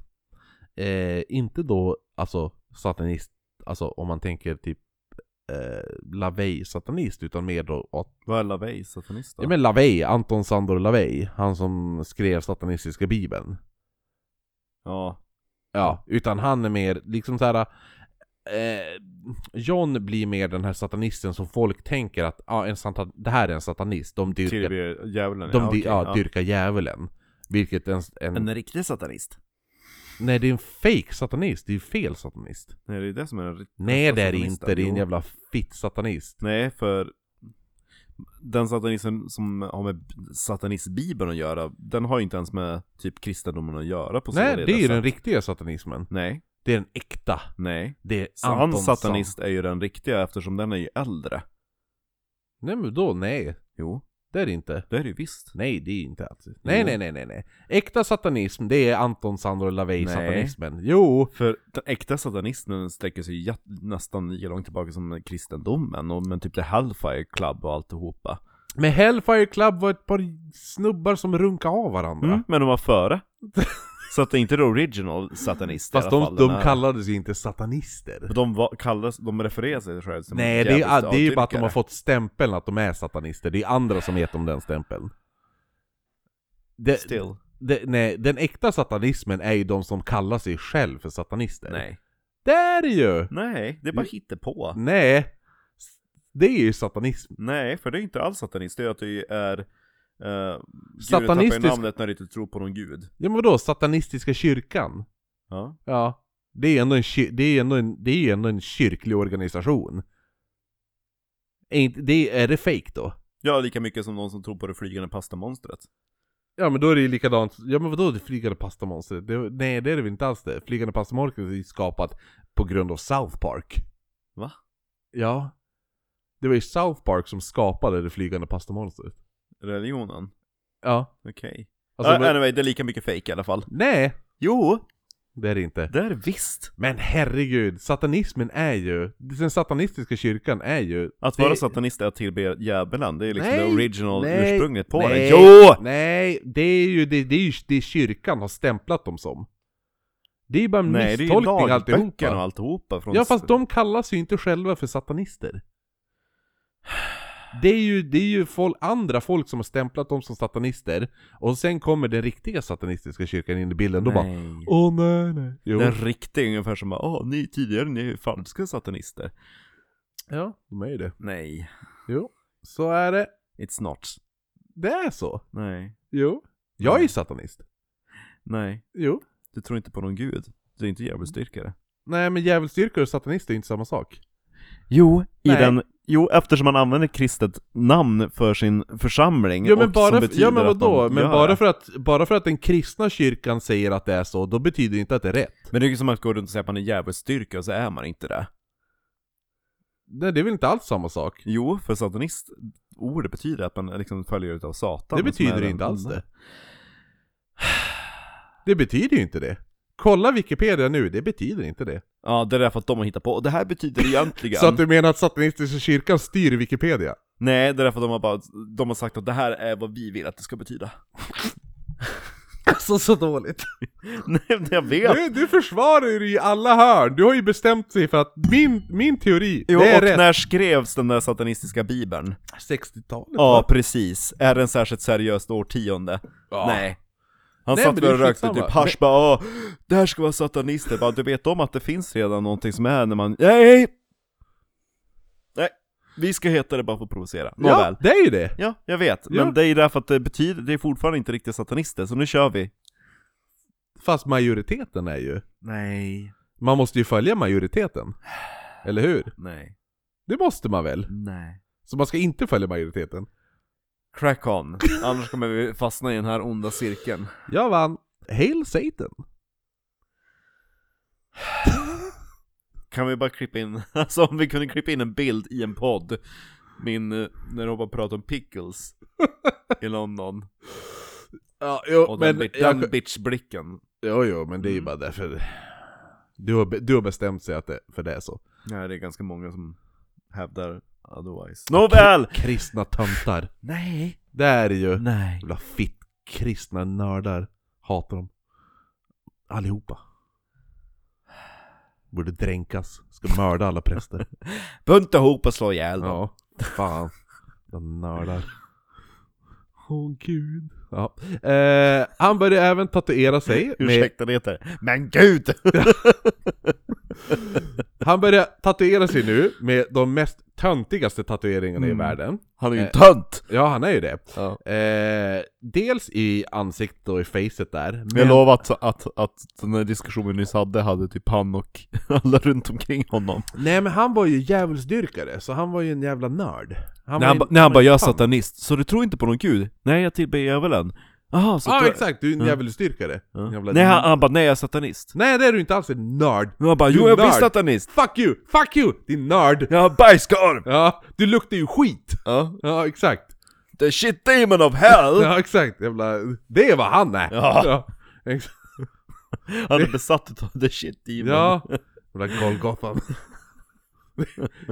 Eh, inte då alltså satanist, alltså om man tänker typ eh, Lavey-satanist, utan mer då åt Vad är Lavey, satanist då? Ja men Lavey, Anton Sandor Lavey, han som skrev satanistiska bibeln. ja. Ja, utan han är mer liksom så här. Eh, John blir mer den här satanisten som folk tänker att ja, en satan- det här är en satanist, de dyrkar, Tillber djävulen. de okej, dy- ja, Mm. dyrkar djävulen. Vilket en, en, En riktig satanist? Nej det är en fake satanist, det är ju fel satanist. Nej, det är det som är en riktig Nej det är det satanist, inte, det är en jo. jävla fitt satanist. Nej, för den satanismen som har med satanistbibeln att göra, den har ju inte ens med typ kristendomen att göra på Nej, sina det är ju reda den sätt. riktiga satanismen. Nej, Det är den äkta. nej. Det är Så hans Antonsson. satanist är ju den riktiga eftersom den är ju äldre. Nej men då, nej. Jo, Det är det inte. det är det ju visst. Nej, det är inte alls. Nej, Jo. nej, nej, nej, nej. Äkta satanism, det är Anton Sandro Nej. Lavey-satanismen. Jo! För den äkta satanisten sträcker sig ju jät- nästan lika långt tillbaka som kristendomen, och, men typ det Hellfire Club och alltihopa. Men Hellfire Club var ett par snubbar som runkade av varandra. Mm, men de var före. Så att det är inte the original satanist i Fast alla de, fall. de den här. kallades ju inte satanister. Men De var, kallas, de refererar sig själva som Nej, det är, djävulskt ju- ah, det är ju bara att de har avdyrkare. fått stämpeln att de är satanister. Det är andra som gett dem den stämpeln. Det, Still. det, nej, den äkta satanismen är ju de som kallar sig själv för satanister. Nej. Det är det ju! Nej, det är bara Mm. hittepå. Nej! Det är ju satanism. Nej, för det är inte alls satanist, det är att du är... Uh, Satanistisk- Satanistisk... namnet när du inte tror på någon gud. Ja men vadå, satanistiska kyrkan? Ja. Ja. Det är ju ändå en, kyr- det är ändå en, det är ju ändå en kyrklig organisation. Är, inte, det, är det fake då? ja, lika mycket som någon som tror på det flygande pastamonstret. Ja men då är det ju likadant, ja men vadå det flygande pastamonstret? Det, nej det är det väl inte alls det? Flygande pastamonstret är ju skapat på grund av South Park. Va? Ja. Det var ju South Park som skapade det flygande pastamonstret. Religionen. Ja. Okej. Alltså, Ja, men, anyway, det är lika mycket fake i alla fall. Nej! Jo, Det är det inte. det är det visst. Men herregud, satanismen är ju, den satanistiska kyrkan är ju... Att det- vara satanist är att tillbe djävulen, det är liksom Nej, det original nej, ursprunget på nej, det. Jo! Nej, det är ju det, det, är ju det kyrkan har stämplat dem som. Det är ju bara en Nej, det är ju misstolkning lagböckerna alltihopa. och alltihopa från... Ja fast de kallas ju inte själva för satanister. Det är ju, det är ju folk, andra folk som har stämplat dem som satanister, och sen kommer den riktiga satanistiska kyrkan in i bilden, då bara Nej. Åh nej nej. Jo. Den riktiga är ungefär som bara, åh, ni tidigare, ni är ju falska satanister. Ja, de är ju det. Nej, Jo. Så är det. it's not. Det är så. Nej, Jo. Jag är ju satanist. nej. Jo. Du tror inte på någon gud. Du är inte djävulsdyrkare. Nej men djävulsdyrkare och satanist är inte samma sak. Jo, i Nej. den... Jo, eftersom man använder kristet namn för sin församling Ja men och bara, som för, ja, men betyder att de vadå? Men gör bara det. för, att, bara för att den kristna kyrkan säger att det är så, då betyder det inte att det är rätt. Men det är ju som att gå runt och säga att man är djävulsdyrkare och så är man inte det. Nej det är väl inte alls samma sak? Jo, för satanist, ordet betyder att man liksom följer utav satan. Det som är betyder den inte alls onda. det. Det betyder ju inte det. Kolla Wikipedia nu, det betyder inte det. Ja, det är därför att de har hittat på. Och det här betyder egentligen... Så att du menar att satanistiska kyrkan styr Wikipedia? Nej, det är därför att de har bara, de har sagt att det här är vad vi vill att det ska betyda. Alltså så dåligt. Nej, men jag vet! Du, du försvarar dig i alla hörn, du har ju bestämt dig för att min, min teori, Jo, det är och rätt. när skrevs den där satanistiska bibeln? 60-talet Ja, va? precis. Är den särskilt seriöst årtionde? Ja. Nej. Han Nej, men det satt väl är och rökte skitsamma. typ hasch, bara "Åh, det här ska vara satanister, bara du vet om att det finns redan någonting som är när man, nej! Nej, vi ska heta det bara för att provocera. Nåväl. Ja, det är ju det. Ja, jag vet. Ja. Men det är därför att det betyder, det är fortfarande inte riktigt satanister, så nu kör vi. Fast majoriteten är ju... Nej. Man måste ju följa majoriteten. Eller hur? Nej. Det måste man väl? Nej. Så man ska inte följa majoriteten? Crack on, annars kommer vi fastna i den här onda cirkeln. Jag vann. Hail Satan! Kan vi bara klippa in, alltså om vi kunde klippa in en bild i en podd Min, eh, när de bara pratar om pickles I London Ja, jo, Och den, men... bit- jag, den bitchblicken jo, jo, men det är ju bara därför... Du har, be- du har bestämt sig att det, för det är så. Nej det är ganska många som hävdar otherwise Nåväl! Kristna töntar. Nej, Det är det ju. nej Jävla fitt kristna nördar. Hatar dem. Allihopa. Borde dränkas. Ska mörda alla präster. Bunta ihop och slå ihjäl dem Ja, fan. De nördar. Åh gud. Ja. Eh, han började även tatuera sig med, Ursäkta det heter Men gud! Han började tatuera sig nu med de mest töntigaste tatueringarna Mm. i världen. Han är ju en Eh. tönt! Ja, han är ju det. Ja. Eh, dels i ansiktet och i facet där. Jag lovar att, att, att den här diskussionen vi nyss hade, hade typ han och alla runt omkring honom. Nej men han var ju djävulsdyrkare, så han var ju en jävla nörd. Han när han, ju- ba, när han var bara, jag är ju fan." satanist, så du tror inte på någon gud? Nej, jag tillber djävulen. Jaha, så Ja du... exakt, du är en Ja. djävulsdyrkare. Ja. Jävla- Nej, han, han bara, nej jag är satanist. Nej det är du inte alls, en nörd. Och han bara, Du jo jag blir nörd. satanist! Fuck you! Fuck you! Din nörd! Jag har bajskorv! Ja, du luktar ju skit! Ja. Ja exakt. The shit demon of hell! Ja exakt, jävla... Det är vad han är! Ja. ja. ex- Han är besatt utav the shit demon. Ja, jävla Golgothan.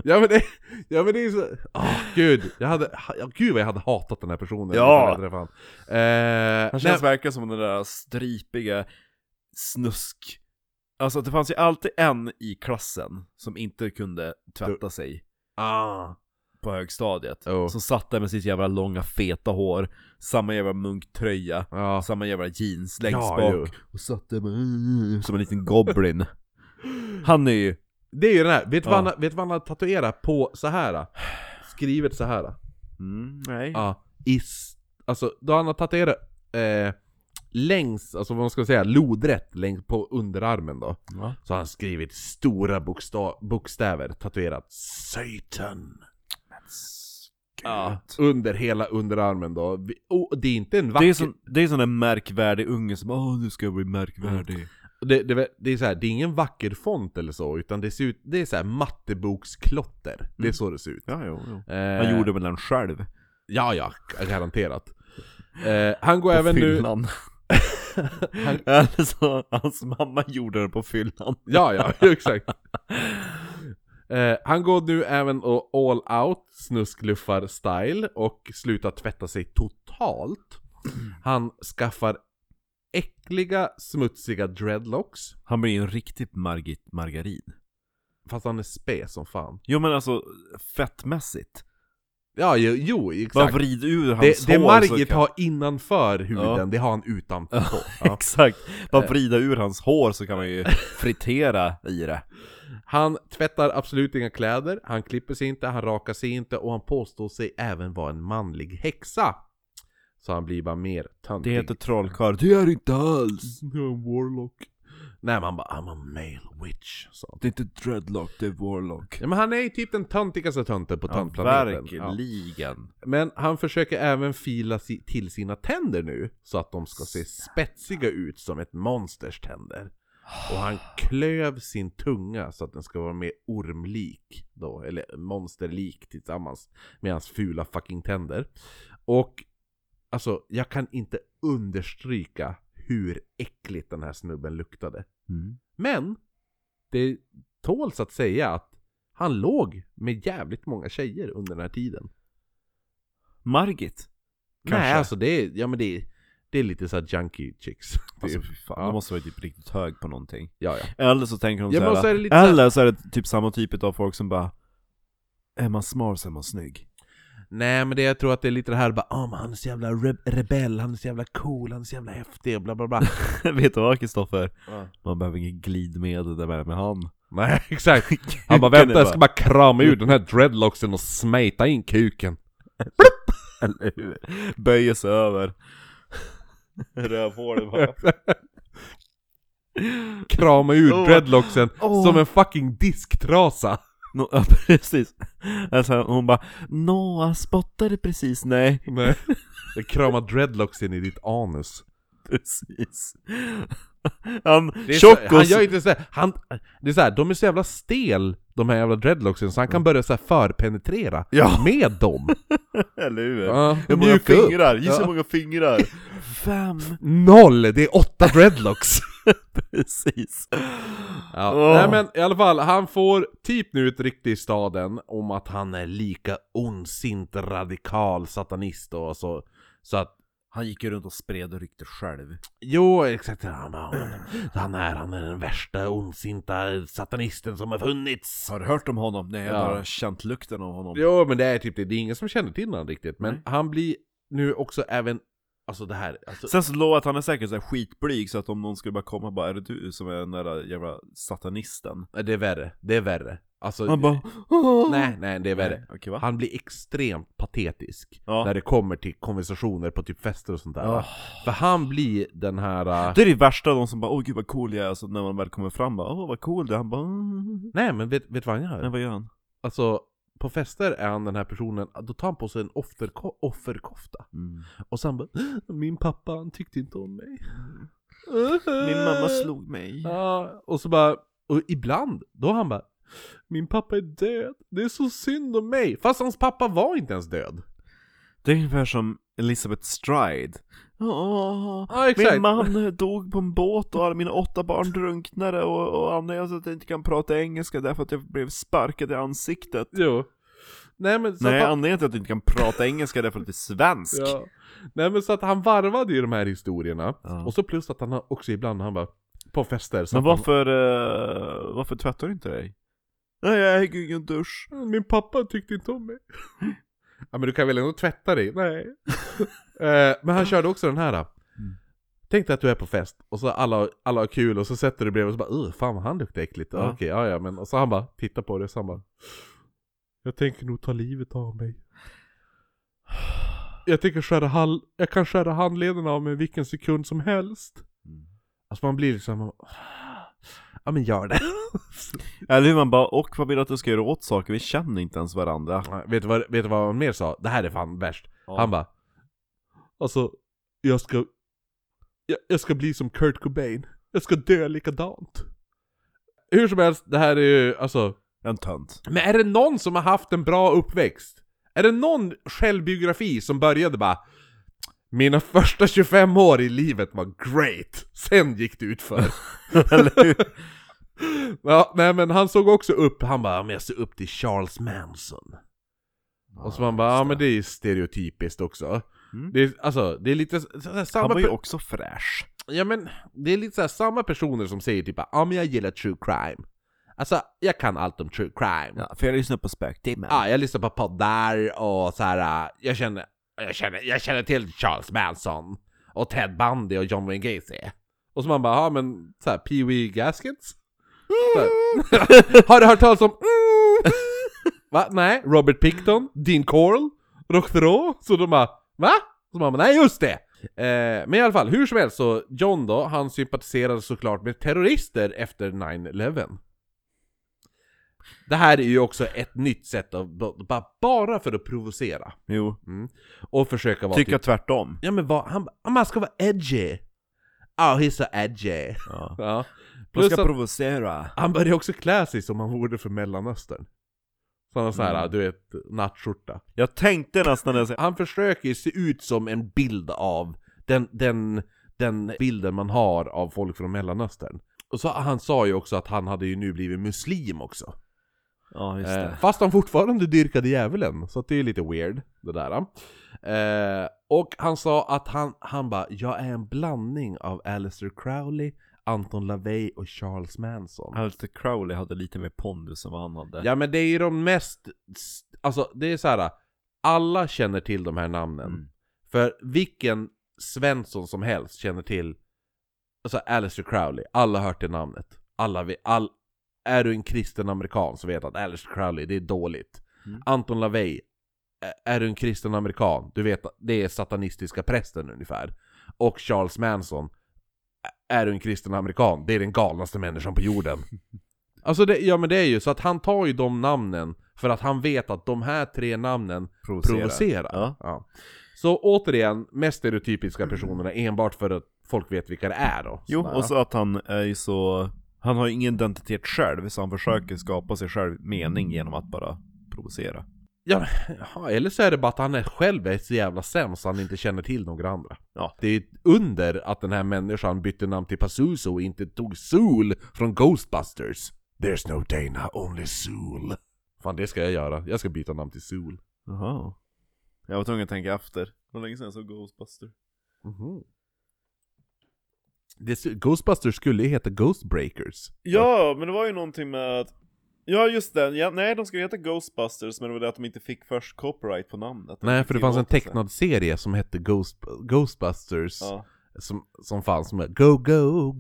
ja men det, ja men det är så, åh gud, jag hade, ja, gud vad jag hade hatat den här personen Ja. när jag träffade han. Eh, Han nej, känns verkligen som den där stripiga snusk... Alltså det fanns ju alltid en i klassen som inte kunde tvätta sig ah, på högstadiet. Jo. Som satt där med sitt jävla långa feta hår, samma jävla munktröja, ja. samma jävla jeans längst Ja, bak. jo. Och satt där med, som en liten goblin. Han är ju... Det är ju den här, vet du vad Ja. han- vet du vad han har tatuerat på så här? Skrivet så här. Mm, nej. Ja, is, alltså då han har tatuerat eh, längs, alltså vad man ska säga, lodrätt längs på underarmen då. Ja. Så har han skrivit stora boksta- bokstäver, tatuerat Satan. Ja, under hela underarmen då. Vi- Och det är inte en vacker... Det är, sån, det är sån där märkvärdig unge som åh nu ska jag bli Mm. märkvärdig. det, det, det är så här, det är ingen vacker font eller så, utan det ser ut... Det är så här matteboksklotter. Det är så det ser ut. Mm. Ja, jo, jo. Eh, Han gjorde väl den själv? Ja, ja, garanterat. Eh, han går även nu... fyllan. Eller så, hans mamma gjorde det på fyllan. Ja, ja, exakt. Eh, han går nu även och all out snuskluffar style och slutar tvätta sig totalt. Han skaffar äckliga, smutsiga dreadlocks. Han blir ju en riktigt Margit Margarin. Fast han är spe som fan. Jo men alltså, fettmässigt. Ja, jo, jo Bara exakt. vrid ur hans Det, det hår så Margit kan... har innanför huden, Ja. det har han utanpå. Ja. Exakt, bara vrida ur hans hår så kan man ju fritera i det. Han tvättar absolut inga kläder, han klipper sig inte, han rakar sig inte och han påstår sig även vara en manlig häxa. Så han blir bara mer töntig. Det heter trollkarl. Det är inte alls! Jag är en warlock. Nej men han bara 'I'm a male witch' sa han. Det är inte dreadlock, det är warlock. Ja, men han är ju typ den töntigaste tönten på Ja, töntplaneten. Ja. verkligen. Men han försöker även fila si- till sina tänder nu, så att de ska se spetsiga ut som ett monsters tänder. Och han klöv sin tunga så att den ska vara mer ormlik då, eller monsterlik tillsammans med hans fula fucking tänder. Och alltså, jag kan inte understryka hur äckligt den här snubben luktade. Mm. Men det tåls att säga att han låg med jävligt många tjejer under den här tiden. Margit? Kanske. Nej, alltså det är, ja men det är, det är lite såhär junkie chicks. Alltså Typ. fy fan, Ja. de måste vara typ riktigt hög på någonting. ja, ja. Eller så tänker de Ja, men såhär, så är det lite eller så är det typ samma typ av folk som bara Är man smal så är man snygg. Nej men det, jag tror att det är lite det här bara ah men han är så jävla re- rebell, han är så jävla cool, han är så jävla häftig, bla bla bla. Vet du vad Kristoffer? Ja. Man behöver inget glidmedel där med han. Nej exakt. Han bara vänta jag ska bara krama ur den här dreadlocksen och smeta in kuken. Eller hur? Böjer sig över. Rövhålet bara. Krama ur Åh. dreadlocksen Åh. som en fucking disktrasa. Nå- ja, precis. Alltså hon bara Nå, han spottade precis, nej. Nej. Jag kramar dreadlocksen i ditt anus. Precis. Han, Det är tjock så, han och gör inte såhär, han, det är såhär, de är så jävla stel de här jävla dreadlocksen så han kan börja såhär förpenetrera Mm. Ja. med dem. Eller hur? Ja, Hur många mjuka upp. fingrar? Gissa Ja. hur många fingrar? Fem! Noll! Det är åtta dreadlocks! Precis. ja. Åh. Nej men i alla fall, han får typ nu ett rykte i staden om att han är lika ondsint radikal satanist och så. Så att Han gick ju runt och spred och ryckte själv. Jo, exakt. Han, bara, han, är, han är den värsta ondsinta satanisten som har funnits. Har du hört om honom? Nej, jag har Ja. bara känt lukten av honom. Jo, men det är typ det. Det är ingen som känner till honom riktigt. Men Nej. han blir nu också även Alltså det här, alltså, Sen så lovar jag att han är säkert så här skitblyg så att om någon skulle bara komma och bara Är det du som är den där jävla satanisten? nej, det är värre, det är värre. Alltså, Han bara nej, nej, det är värre. Nej, Okej va? Han blir extremt patetisk Ja. när det kommer till konversationer på typ fester och sånt där. Ja. För han blir den här... äh, Det är det värsta, de som bara 'Åh gud vad cool jag är' så när man väl kommer fram bara 'Åh vad cool du är' Han bara "Mm." Nej men vet, vet du vad han gör? Nej vad gör han? Alltså, på fester är han den här personen, då tar han på sig en offerko- offerkofta. Och sen bara, min pappa han tyckte inte om mig. Min mamma slog mig Ja, och så bara, och ibland, då han bara, min pappa är död, det är så synd om mig. Fast hans pappa var inte ens död. Det är ungefär som Elizabeth Stride Åh, Ja, exakt. Min man dog på en båt och alla mina åtta barn drunknade och, och anledningen till att jag inte kan prata engelska är därför att jag blev sparkad i ansiktet Jo. Nej men så Nej, att han, anledningen till att jag inte kan prata engelska är därför att jag är svensk ja. Nej men så att han varvade ju de här historierna. Ja. Och så plus att han har också ibland, han bara, på fester så Men att han- varför, eh, varför tvättar du inte dig? Nej, jag äger ingen dusch Min pappa tyckte inte om mig. ja men du kan väl ändå tvätta dig? Nej. Eh, men han körde också den här. Då. Tänk dig att du är på fest och så alla, alla har kul och så sätter du dig bredvid och så bara "Ugh, fan vad han luktar äckligt. Ja. Ja. Okej, ja ja men och så han bara tittar på dig och så han bara Jag tänker nog ta livet av mig. Jag tänker skära hal- jag kan skära handleden av mig vilken sekund som helst. Alltså man blir liksom, man bara, ja men gör det. Eller hur man bara, och vad vill du att du ska göra åt saker? Vi känner inte ens varandra Nej, Vet du, vad, vet du vad han mer sa? Det här är fan värst. Ja. Han bara Alltså, jag ska jag, jag ska bli som Kurt Cobain. Jag ska dö likadant. Hur som helst, det här är ju alltså En tönt Men är det någon som har haft en bra uppväxt? Är det någon självbiografi som började bara Mina första 25 år i livet var great, sen gick det utför. Eller hur? Ja, nej men han såg också upp, han bara "Ja, men jag ser upp till Charles Manson. Och så man bara, ja men det är stereotypiskt också. Mm. Det är, alltså, det är lite så- så här, Han samma var ju per- också fräsch Ja men, det är lite så här, samma personer som säger typ ja men jag gillar true crime. Alltså, jag kan allt om true crime. Ja, för jag lyssnar på Spöktimmen jag lyssnar på poddar och så här. äh, jag känner, jag känner, jag känner till Charles Manson. Och Ted Bundy och John Wayne Gacy. Och så man bara, ja men så här, Pee Wee Gaskets? Så här. Har du hört talas om... Mm. Va? Nej? Robert Picton? Dean Corll? Rock Thoreau? Så de bara Va? Så man bara, nej just det! Eh, men i alla fall, hur som helst så John då, han sympatiserade såklart med terrorister efter 9-11 Det här är ju också ett nytt sätt att b- bara, bara för att provocera Jo, och försöka vara tycker typ, jag tvärtom Ja men vad, han, bara, "Ja, men han ska vara edgy! Ja, he's so edgy! ja. Ja. Man Plus ska att- provocera han började också klä sig som han vore för mellanöstern. Sådana så här, Mm. du vet, nattskjorta. Jag tänkte nästan när jag sa- Han försöker se ut som en bild av den, den, den bilden man har av folk från mellanöstern. Och så, han sa ju också att han hade ju nu blivit muslim också. Ja, just Eh, fast han fortfarande dyrkade djävulen, så att det är lite weird det där. Eh, och han sa att han, han bara, jag är en blandning av Alistair Crowley, Anton LaVey och Charles Manson. Alistair Crowley hade lite mer pondus än vad han hade Ja men det är ju de mest, alltså det är så här. alla känner till de här namnen. Mm. För vilken Svensson som helst känner till, alltså Alistair Crowley, alla har hört det namnet. Alla, vi- all, är du en kristen amerikan så vet att Alistair Crowley, det är dåligt. Mm. Anton LaVey, ä- är du en kristen amerikan, du vet att det är satanistiska prästen ungefär. Och Charles Manson, ä- är du en kristen amerikan, det är den galnaste människan på jorden. Alltså det, ja men det är ju så att han tar ju de namnen för att han vet att de här tre namnen Provocera. provocerar. Ja. Så återigen, mest stereotypiska personerna enbart för att folk vet vilka det är då. Jo, Sådär. och så att han är ju så... Han har ju ingen identitet själv, så han försöker skapa sig själv mening genom att bara provocera. Ja, ja, eller så är det bara att han är själv är så jävla sämst så han inte känner till några andra. Ja. Det är ett under att den här människan bytte namn till Pazuzu och inte tog Zool från Ghostbusters. There's no Dana, only Zool. Fan det ska jag göra, jag ska byta namn till Zool. Jaha. Jag var tvungen att tänka efter. Hur länge sedan jag såg Ghostbuster? Mhm. Det, Ghostbusters skulle ju heta Ghostbreakers. Ja, men det var ju någonting med att Ja just det, ja, nej de skulle heta Ghostbusters men det var det att de inte fick först copyright på namnet. De Nej, fick för det fanns en tillåtelse. tecknad serie som hette Ghost, Ghostbusters. Ja, Som, som fanns med Go Go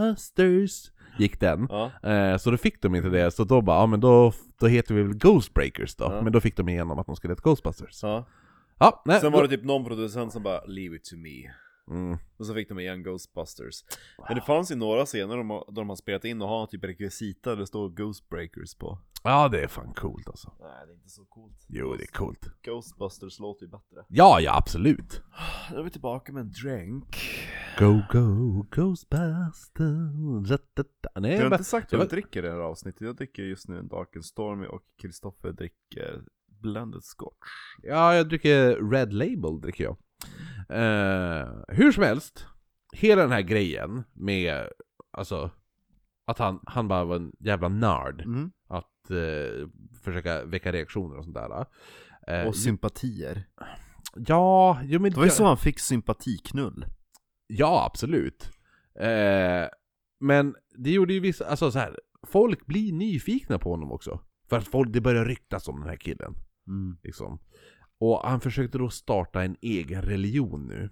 Ghostbusters. Gick den. ja. Eh, så då fick de inte det, så då bara, ja men då, då heter vi väl Ghostbreakers då. Ja. Men då fick de igenom att de skulle heta Ghostbusters. ja. Ja, nej. Sen var det typ någon producent som bara 'Leave it to me' mm. Och så fick de igen Ghostbusters. Men det fanns ju några scener de har, där de har spelat in och har typ rekvisita där det står Ghostbreakers på. ja, det är fan coolt alltså. Nej, det är inte så coolt. Jo, det är coolt. Ghostbusters låter ju bättre. Ja, ja absolut. Nu är vi tillbaka med en drink. Go Go Ghostbusters. Da, da, da. Nej, Jag har bara- inte sagt det vad var- jag dricker i det här avsnittet. Jag dricker just nu en Dark and Stormy och Kristoffer dricker Blended Scotch. Ja, jag dricker Red Label dricker jag. Eh, hur som helst, hela den här grejen med, alltså, att han, han bara var en jävla nörd. Mm. Att eh, försöka väcka reaktioner och sånt där. Eh, Och sympatier. ja, jo men... Det var ju jag- så han fick sympatiknull. Ja, absolut. Eh, men det gjorde ju vissa, alltså så här, folk blir nyfikna på honom också. För att folk, det börjar ryktas om den här killen. Mm. Liksom. Och han försökte då starta en egen religion nu.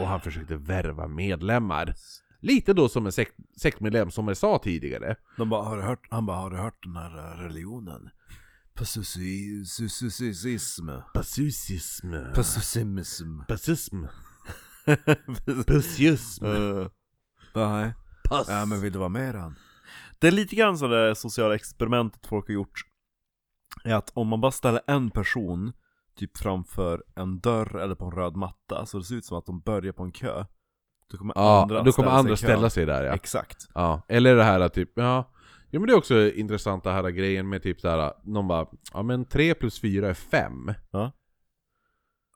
Och han försökte värva medlemmar. Lite då som en sekt, sektmedlem som jag sa tidigare. De bara, har du hört, han bara, har du hört den här eh, religionen? Passusism. Passusism. Passusimism. Passism. Pussism. Eh, Mm. Nej. Eh. Pass. Ja, men vill du vara med han? Det är lite grann så det sociala experimentet folk har gjort. Är att om man bara ställer en person typ framför en dörr eller på en röd matta så det ser ut som att de börjar på en kö. Då kommer Ja, andra då kommer andra i kö. ställa sig där ja. Exakt. Ja, eller det här att typ, ja. Jo men det är också intressant det här grejen med typ såhär, någon bara, ja men 3 plus 4 är 5. Ja.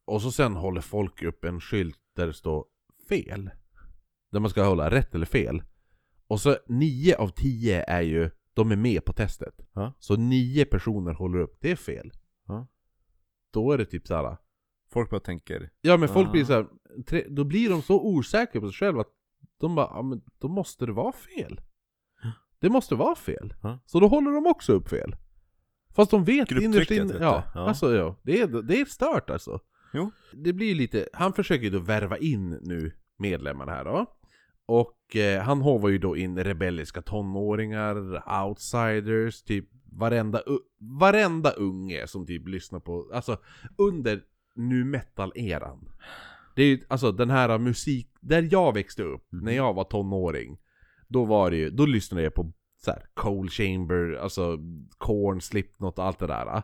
Och så sen håller folk upp en skylt där det står fel. Där man ska hålla rätt eller fel. Och så 9 av 10 är ju, de är med på testet. Ja. Så 9 personer håller upp, det är fel. Ja. Då är det typ såhär, Folk bara tänker, ja men folk Ja. blir såhär, tre- då blir de så osäkra på sig själva att de bara, ja men då måste det vara fel. Det måste vara fel. Ja. Så då håller de också upp fel. Fast de vet innerst Grupptrycket, inne, vet du. ja, Ja. alltså ja, det är, det är stört alltså. Jo. Det blir ju lite, han försöker ju då värva in nu medlemmarna här då. Och eh, han hovar ju då in rebelliska tonåringar, outsiders, typ varenda, u- varenda unge som typ lyssnar på, alltså under nu metal-eran. Det är ju, alltså den här musik, där jag växte upp, Mhm. när jag var tonåring, då var det ju, då lyssnade jag på så här, Cold Chamber, alltså Korn, Slipknot och allt det där.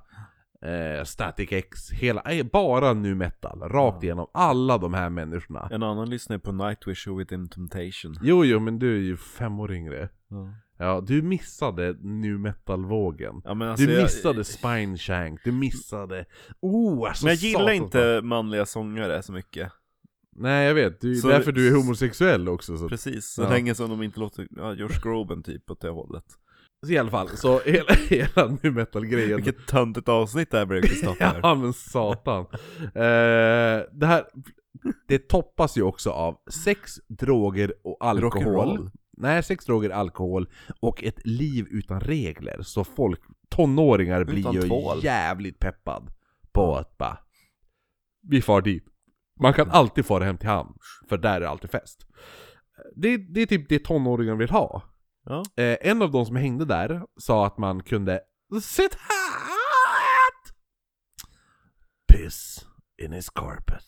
Eh, Static X, hela, eh, bara nu metal, rakt Ja. igenom alla de här människorna. en annan lyssnar på Nightwish och Within Temptation. Jo, jo, men du är ju fem år yngre. Ja. Ja, du missade nu metal-vågen. Ja, men alltså Du jag- missade Spine Shank, du missade... Oh, alltså Men jag gillar satan. inte manliga sångare så mycket. Nej, jag vet. Det är ju Så- därför du är homosexuell också. Så, Precis, så Ja. länge som de inte låter, ja, Josh Groban typ åt det hållet. så i alla fall, så hela, hela nu metal-grejen. Vilket töntigt avsnitt det här blev Kristoffer. Ja men satan. eh, det här, det toppas ju också av sex droger och alkohol. Rock'n'roll. Nej, sex droger, alkohol och ett liv utan regler. Så folk, tonåringar blir Utan ju tvål. jävligt peppad på att bara, vi far dit. Man kan Mm. alltid fara hem till hamn, för där är det alltid fest. Det, det är typ det tonåringar vill ha. Ja. Eh, en av de som hängde där sa att man kunde Citat! Piss in his carpet.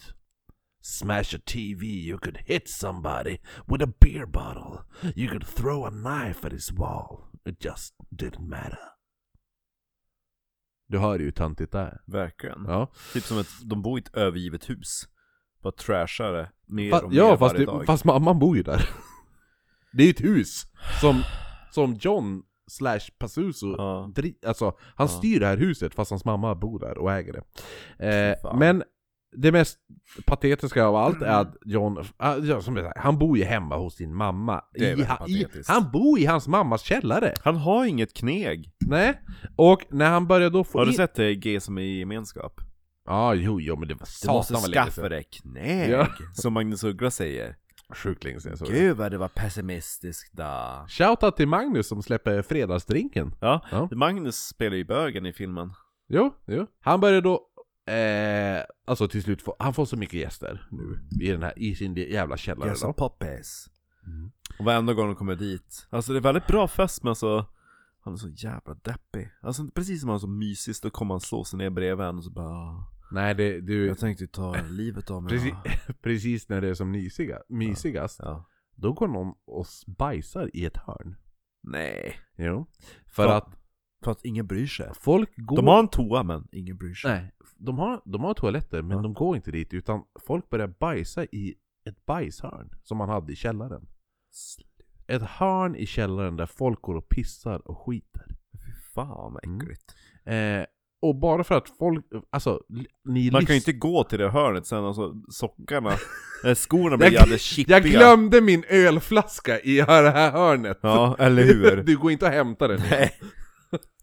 Smash a TV, you could hit somebody with a beer bottle. You could throw a knife at his wall. It just didn't matter. Du hör ju hur töntigt det är. Verkligen. Ja, Typ som att de bor i ett övergivet hus. Bara trashar det Mm. mer Fa- och mer ja fast, varje det, dag. fast mamman bor ju där. Det är ett hus som, som John slash Passuso Ja. dri- alltså, han Ja. styr det här huset fast hans mamma bor där och äger det. Eh, Fan. Mm. men det mest patetiska av allt är att John, ah, ja, som jag sa, han bor ju hemma hos sin mamma. Det är I, väldigt ha, i, patetiskt. han bor i hans mammas källare. Han har inget kneg. Nej. Och när han börjar då få Har du in... sett det i G som är i gemenskap? Ja, jo, jo, men det var Du måste satan vad länge skaffa sedan. dig kneg. Ja. Som Magnus Uggla säger. Sjukt länge sedan jag såg det. Gud vad du var pessimistisk då. Shoutout till Magnus som släpper fredagsdrinken. Ja, Ja. Magnus spelar ju bögen i filmen. Jo, jo. Han börjar då, eh, alltså till slut få, han får så mycket gäster nu i den här, i sin jävla källare då. poppis. Och varenda gång de kommer dit. Alltså det är väldigt bra fest men alltså han är så jävla deppig. Alltså precis som han är så mysig så kommer han slå sig ner bredvid en och så bara Nej, det, du, Jag tänkte ju ta livet av mig. precis, va?" precis när det är som mysiga, mysigast, Ja. då går någon och bajsar i ett hörn. Nej. Jo. För Fan. att För att ingen bryr sig. folk går... De har en toa men ingen bryr sig. Nej, de har, de har toaletter men Ja. de går inte dit utan folk börjar bajsa i ett bajshörn som man hade i källaren. Ett hörn i källaren där folk går och pissar och skiter. Fy fan vad Mm. äckligt. Eh, och bara för att folk, alltså li- ni Man kan ju lys- inte gå till det hörnet sen, alltså sockarna, eh, skorna blir Jag, jävligt chippiga. jag glömde min ölflaska i det här hörnet! Ja, eller hur? Du går inte och hämtar den. Nej.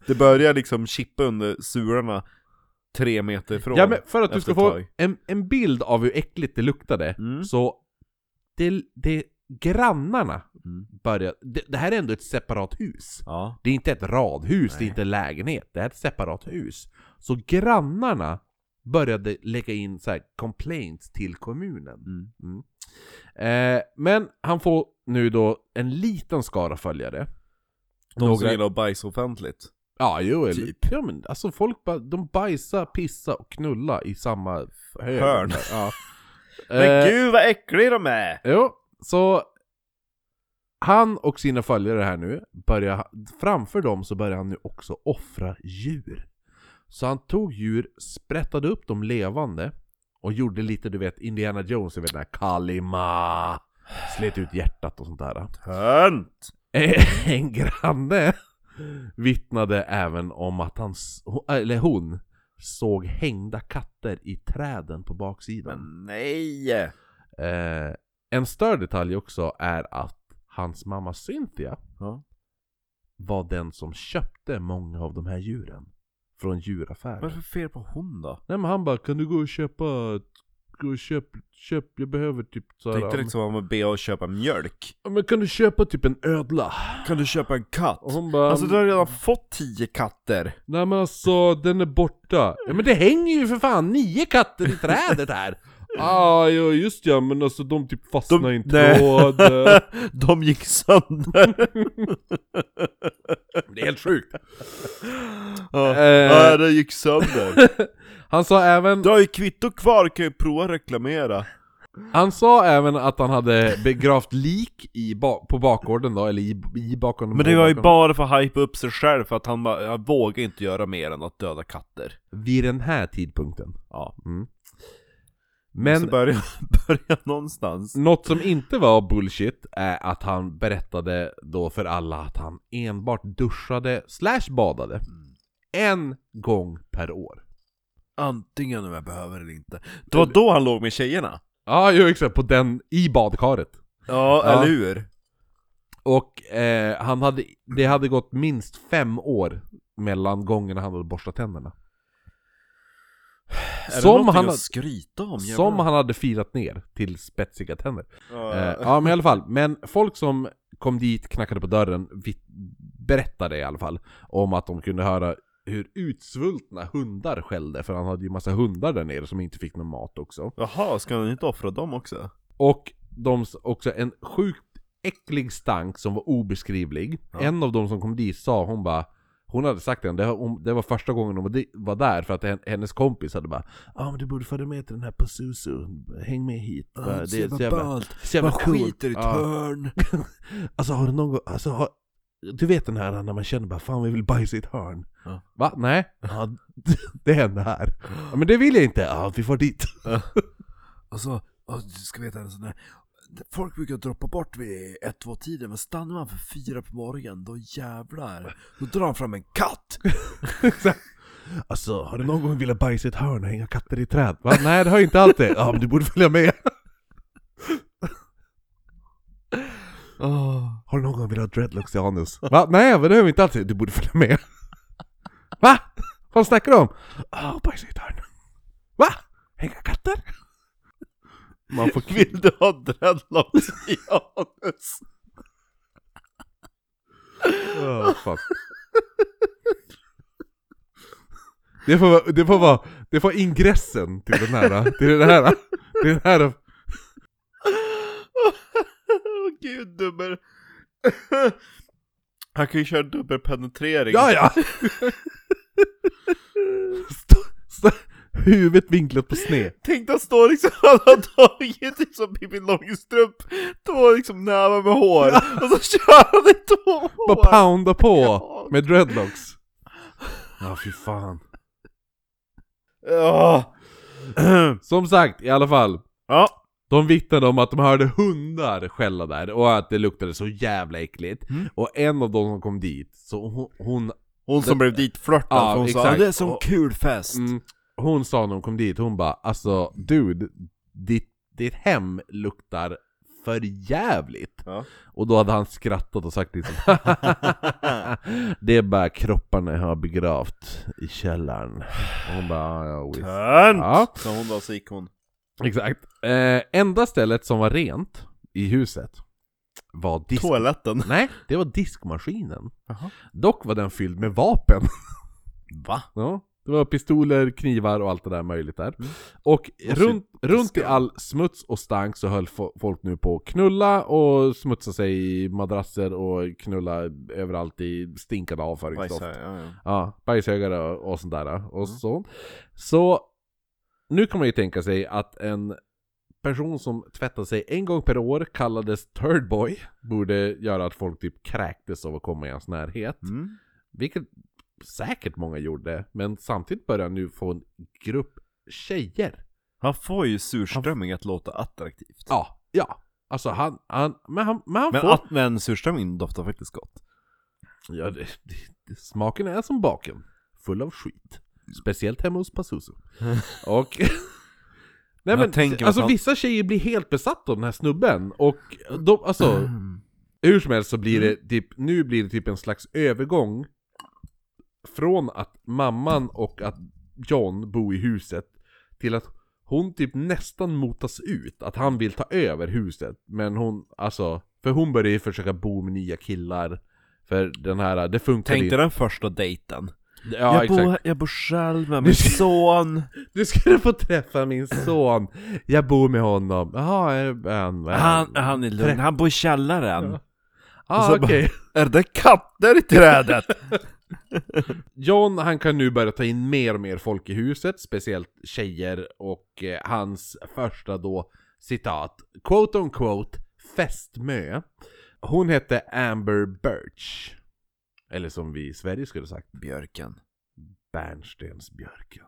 Det börjar liksom chippa under surarna tre meter ifrån. Ja men för att du efter ska ett få tag. en, en bild av hur äckligt det luktade, Mm. så det, det grannarna Mm. började, det, det här är ändå ett separat hus. Ja. Det är inte ett radhus, det Nej. är inte en lägenhet, det är ett separat hus. Så grannarna började lägga in så här complaints till kommunen. Mm. Eh, men han får nu då en liten skara följare. De som gillar att bajsa offentligt. Ja, jo, eller, Typ. ja, men alltså folk bara, de bajsar, pissar och knullar i samma hög. Hörn. Ja. Men Eh, gud vad äckliga de är! Jo, så han och sina följare här nu, börjar, framför dem så börjar han nu också offra djur. Så han tog djur, sprättade upp dem levande och gjorde lite du vet Indiana Jones, du vet den här Kalima, slet ut hjärtat och sånt där. Tönt! Eh, En granne vittnade även om att han, s- ho- eller hon, såg hängda katter i träden på baksidan. Men nej! Eh, en större detalj också är att hans mamma Cynthia Ja. var den som köpte många av de här djuren från djuraffären. Vad är det för fel på hon då? Nej men han bara 'Kan du gå och köpa, gå och köp, köp, jag behöver typ såhär, Tänkte liksom om att be och köpa mjölk. men kan du köpa typ en ödla?' Kan du köpa en katt? Och hon bara Alltså du har redan fått tio katter! Nej men alltså, den är borta. Ja men det hänger ju för fan nio katter i trädet här! Ah, ja just ja, men alltså de typ fastnar i en nej. tråd. De gick sönder! Det är helt sjukt. Ja, Eh. ja, de gick sönder. Han sa även... Du har ju kvitto kvar, kan ju prova reklamera. Han sa även att han hade begravt lik i ba- på bakgården då, eller i, i bakgården Men på det var ju bakgården. bara för att hypa upp sig själv, för att han bara, jag vågar inte göra mer än att döda katter. Vid den här tidpunkten. Ja. Mm. Men... Så Men börja, börja någonstans. något som inte var bullshit är att han berättade då för alla att han enbart duschade slash badade. En gång per år. Antingen om jag behöver eller inte. Det var då han låg med tjejerna. Ja, ju exakt, på den, i badkaret. Ja, Ja. eller hur? Och eh, han hade, det hade gått minst fem år mellan gångerna han hade borstat tänderna. Är det Som någonting han att hade- skryta om? jävlar? Som han hade filat ner till spetsiga tänder. Ja. Eh, ja men i alla fall, men folk som kom dit, knackade på dörren, vitt- berättade i alla fall om att de kunde höra hur utsvultna hundar skällde, för han hade ju massa hundar där nere som inte fick någon mat också. Jaha, ska han inte offra dem också? Och de s- också en sjukt äcklig stank som var obeskrivlig. Ja. En av de som kom dit sa hon bara hon hade sagt det, det var- hon- det var första gången hon var di- var där för att hen- hennes kompis hade bara Ja ah, men du borde följa med till den här Pazuzu, häng med hit Ja, Bara, så jävla ballt. så jävla Man cool." skiter i ett Ja. hörn. Alltså har du någon gång, alltså har, du vet den här när man känner bara fan vi vill bajsa i ett hörn. Ja. Va? Nej? Ja, det hände här. Ja, men det vill jag inte. Ja, vi får dit. Och så, och du ska veta en sån där, folk brukar droppa bort vid 1-2-tiden, men stannar man för fyra på morgonen, då jävlar, då drar han fram en katt! Alltså har du någon gång velat bajsa i ett hörn och hänga katter i träd? Va? Nej det har jag inte alltid. Ja men du borde följa med. Har du någon gång velat ha dreadlocks i anus? Va? Nej men det har vi inte alltid. Du borde följa med. Va? Vad snackar du om? Ja, bajsa i ett hörn. Va? Hänga katter? Man får kul. Vill du ha dreadlocks i anus? Åh, fan. Det får, vara- det får vara, det får ingressen till den här, till den här, till den här Åh gud, dubbel... Han kan ju köra dubbelpenetrering. Ja, ja! Stå, stå, huvudet vinklat på sned. Tänk dig att stå liksom, han har tagit typ som Pippi Långstrump, två liksom nävar med hår, och så kör han i två hår! Bara pounda på Ja. med dreadlocks. Ja, fy fan. Ja. Som sagt, i alla fall. ja. De vittnade om att de hörde hundar skälla där och att det luktade så jävla äckligt. Mm. Och en av dem som kom dit, så hon, hon, Hon som blev ditflörtad, Ja, för hon sa exakt. det är sån Och- kul fest! mm, hon sa när hon kom dit, hon bara alltså dude, ditt, ditt hem luktar för jävligt. Ja. Och då hade han skrattat och sagt liksom Det är bara kropparna jag har begravt i källaren. Och hon bara, "Ja, ja visst. Tönt! Ja. Så hon då, så gick hon. Exakt. Eh, enda stället som var rent i huset var disk... Toaletten. Nej, det var diskmaskinen. Jaha. Dock var den fylld med vapen. Va? Ja, det var pistoler, knivar och allt det där möjligt där. Och Och runt, runt i skam. all smuts och stank så höll fo- folk nu på att knulla och smutsa sig i madrasser och knulla överallt i stinkande avföringsdoft. Bajsar, ja, ja. Ja, bajshögar och, och sånt där. Och så. så nu kan man ju tänka sig att en person som tvättar sig en gång per år kallades Third Boy borde göra att folk typ kräktes av att komma i hans närhet. Mm. Vilket säkert många gjorde, men samtidigt börjar han nu få en grupp tjejer. Han får ju surströmming att låta attraktivt. Ja, ja. Alltså han, han, men han, men han Men, får... att, men surströmming doftar faktiskt gott. Ja, det, det, det, smaken är som baken, full av skit. Speciellt hemma hos Pazuzu. Och... Nej Jag men, tänker mig alltså att han- vissa tjejer blir helt besatta av den här snubben och de, alltså, hur som helst så blir Mm. det typ, nu blir det typ en slags övergång från att mamman och att John bor i huset till att hon typ nästan motas ut, att han vill ta över huset men hon, alltså, för hon börjar ju försöka bo med nya killar för den här, det funkar Tänk dig den första dejten. inte. Ja, jag, exakt. bor, jag bor själv med min son. Nu ska du få träffa min son, jag bor med honom. Jaha, är han... Han, han är lugn, han bor i källaren. Ja. Och ah, så okej. bara- Är det katter i trädet? John, han kan nu börja ta in mer och mer folk i huset, speciellt tjejer och eh, hans första då citat, quote on quote, fästmö. Hon hette Amber Birch. Eller som vi i Sverige skulle sagt, Björken. bärnstensbjörken.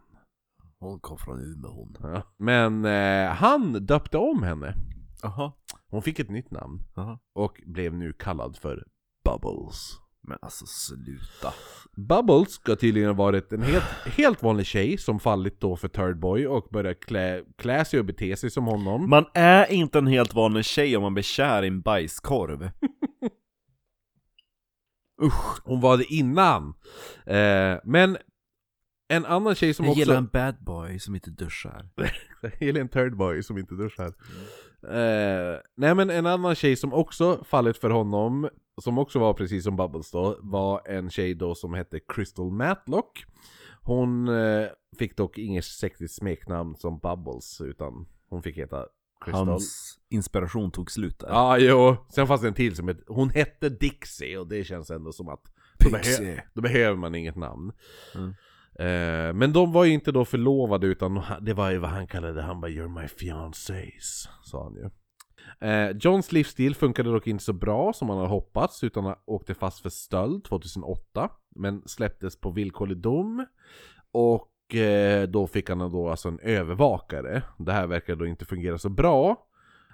Hon kom från Umeå hon. Ja. Men eh, han döpte om henne. Jaha. Hon fick ett nytt namn Jaha. och blev nu kallad för Bubbles. Men alltså sluta. Bubbles ska tydligen ha varit en helt, helt vanlig tjej som fallit då för Third Boy och börjat klä, klä sig och bete sig som honom. Man är inte en helt vanlig tjej om man blir kär i en bajskorv. Usch. Hon var det innan. Eh, men en annan tjej som Jag också... gillar en bad boy som inte duschar. Jag gillar en Third Boy som inte duschar. Eh, nej men en annan tjej som också fallit för honom, som också var precis som Bubbles då, var en tjej då som hette Crystal Matlock. Hon eh, fick dock inget sexigt smeknamn som Bubbles, utan hon fick heta Crystal. Hans inspiration tog slut där. Ja, jo. Sen fanns det en till som hette, hon hette Dixie och det känns ändå som att då, behö- Pixie. då behöver man inget namn. Mm. Eh, men de var ju inte då förlovade utan han- det var ju vad han kallade, han bara 'You're my fiancés' sa han ju. Eh, Johns livsstil funkade dock inte så bra som han hade hoppats utan han åkte fast för stöld 2008 men släpptes på villkorlig dom och eh, då fick han då alltså en övervakare. Det här verkar då inte fungera så bra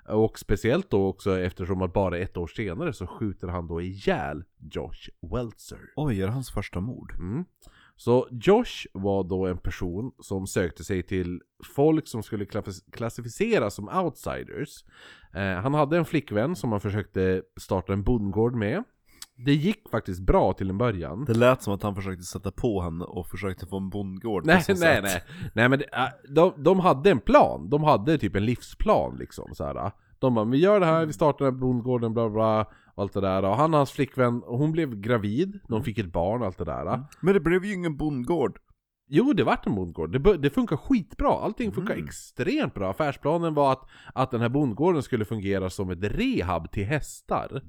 och speciellt då också eftersom att bara ett år senare så skjuter han då ihjäl Josh Weltzer. Oj, är det hans första mord? Mm. Så Josh var då en person som sökte sig till folk som skulle klaff- klassificeras som outsiders. Eh, han hade en flickvän som han försökte starta en bondgård med. det gick faktiskt bra till en början. Det lät som att han försökte sätta på henne och försökte få en bondgård Nej, på så nej, sätt. nej. Nej men det- äh, de, de hade en plan. De hade typ en livsplan liksom så här. De bara, vi gör det här, vi startar den här bondgården, bla bla. bla, Och allt det där. Och han och hans flickvän, hon blev gravid. Mm. De fick ett barn och allt det där. Men det blev ju ingen bondgård. Jo, det vart en bondgård. Det, bör- det funkar skitbra. Allting Mm. funkar extremt bra. Affärsplanen var att, att den här bondgården skulle fungera som ett rehab till hästar.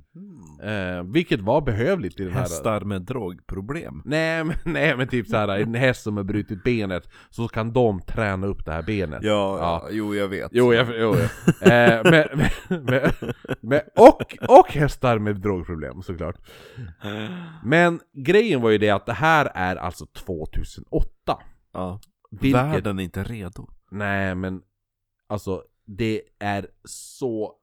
Eh, vilket var behövligt i den här... Mm. Hästar med drogproblem. Nej men, nej men typ såhär, en häst som har brutit benet så kan de träna upp det här benet. Ja, ja. jo jag vet. Jo, jag, jo, jo. eh, men, men, men, men, och, och hästar med drogproblem såklart. Men grejen var ju det att det här är alltså 2008. Ja. Vilket, Världen är inte redo. Nej men, alltså det är så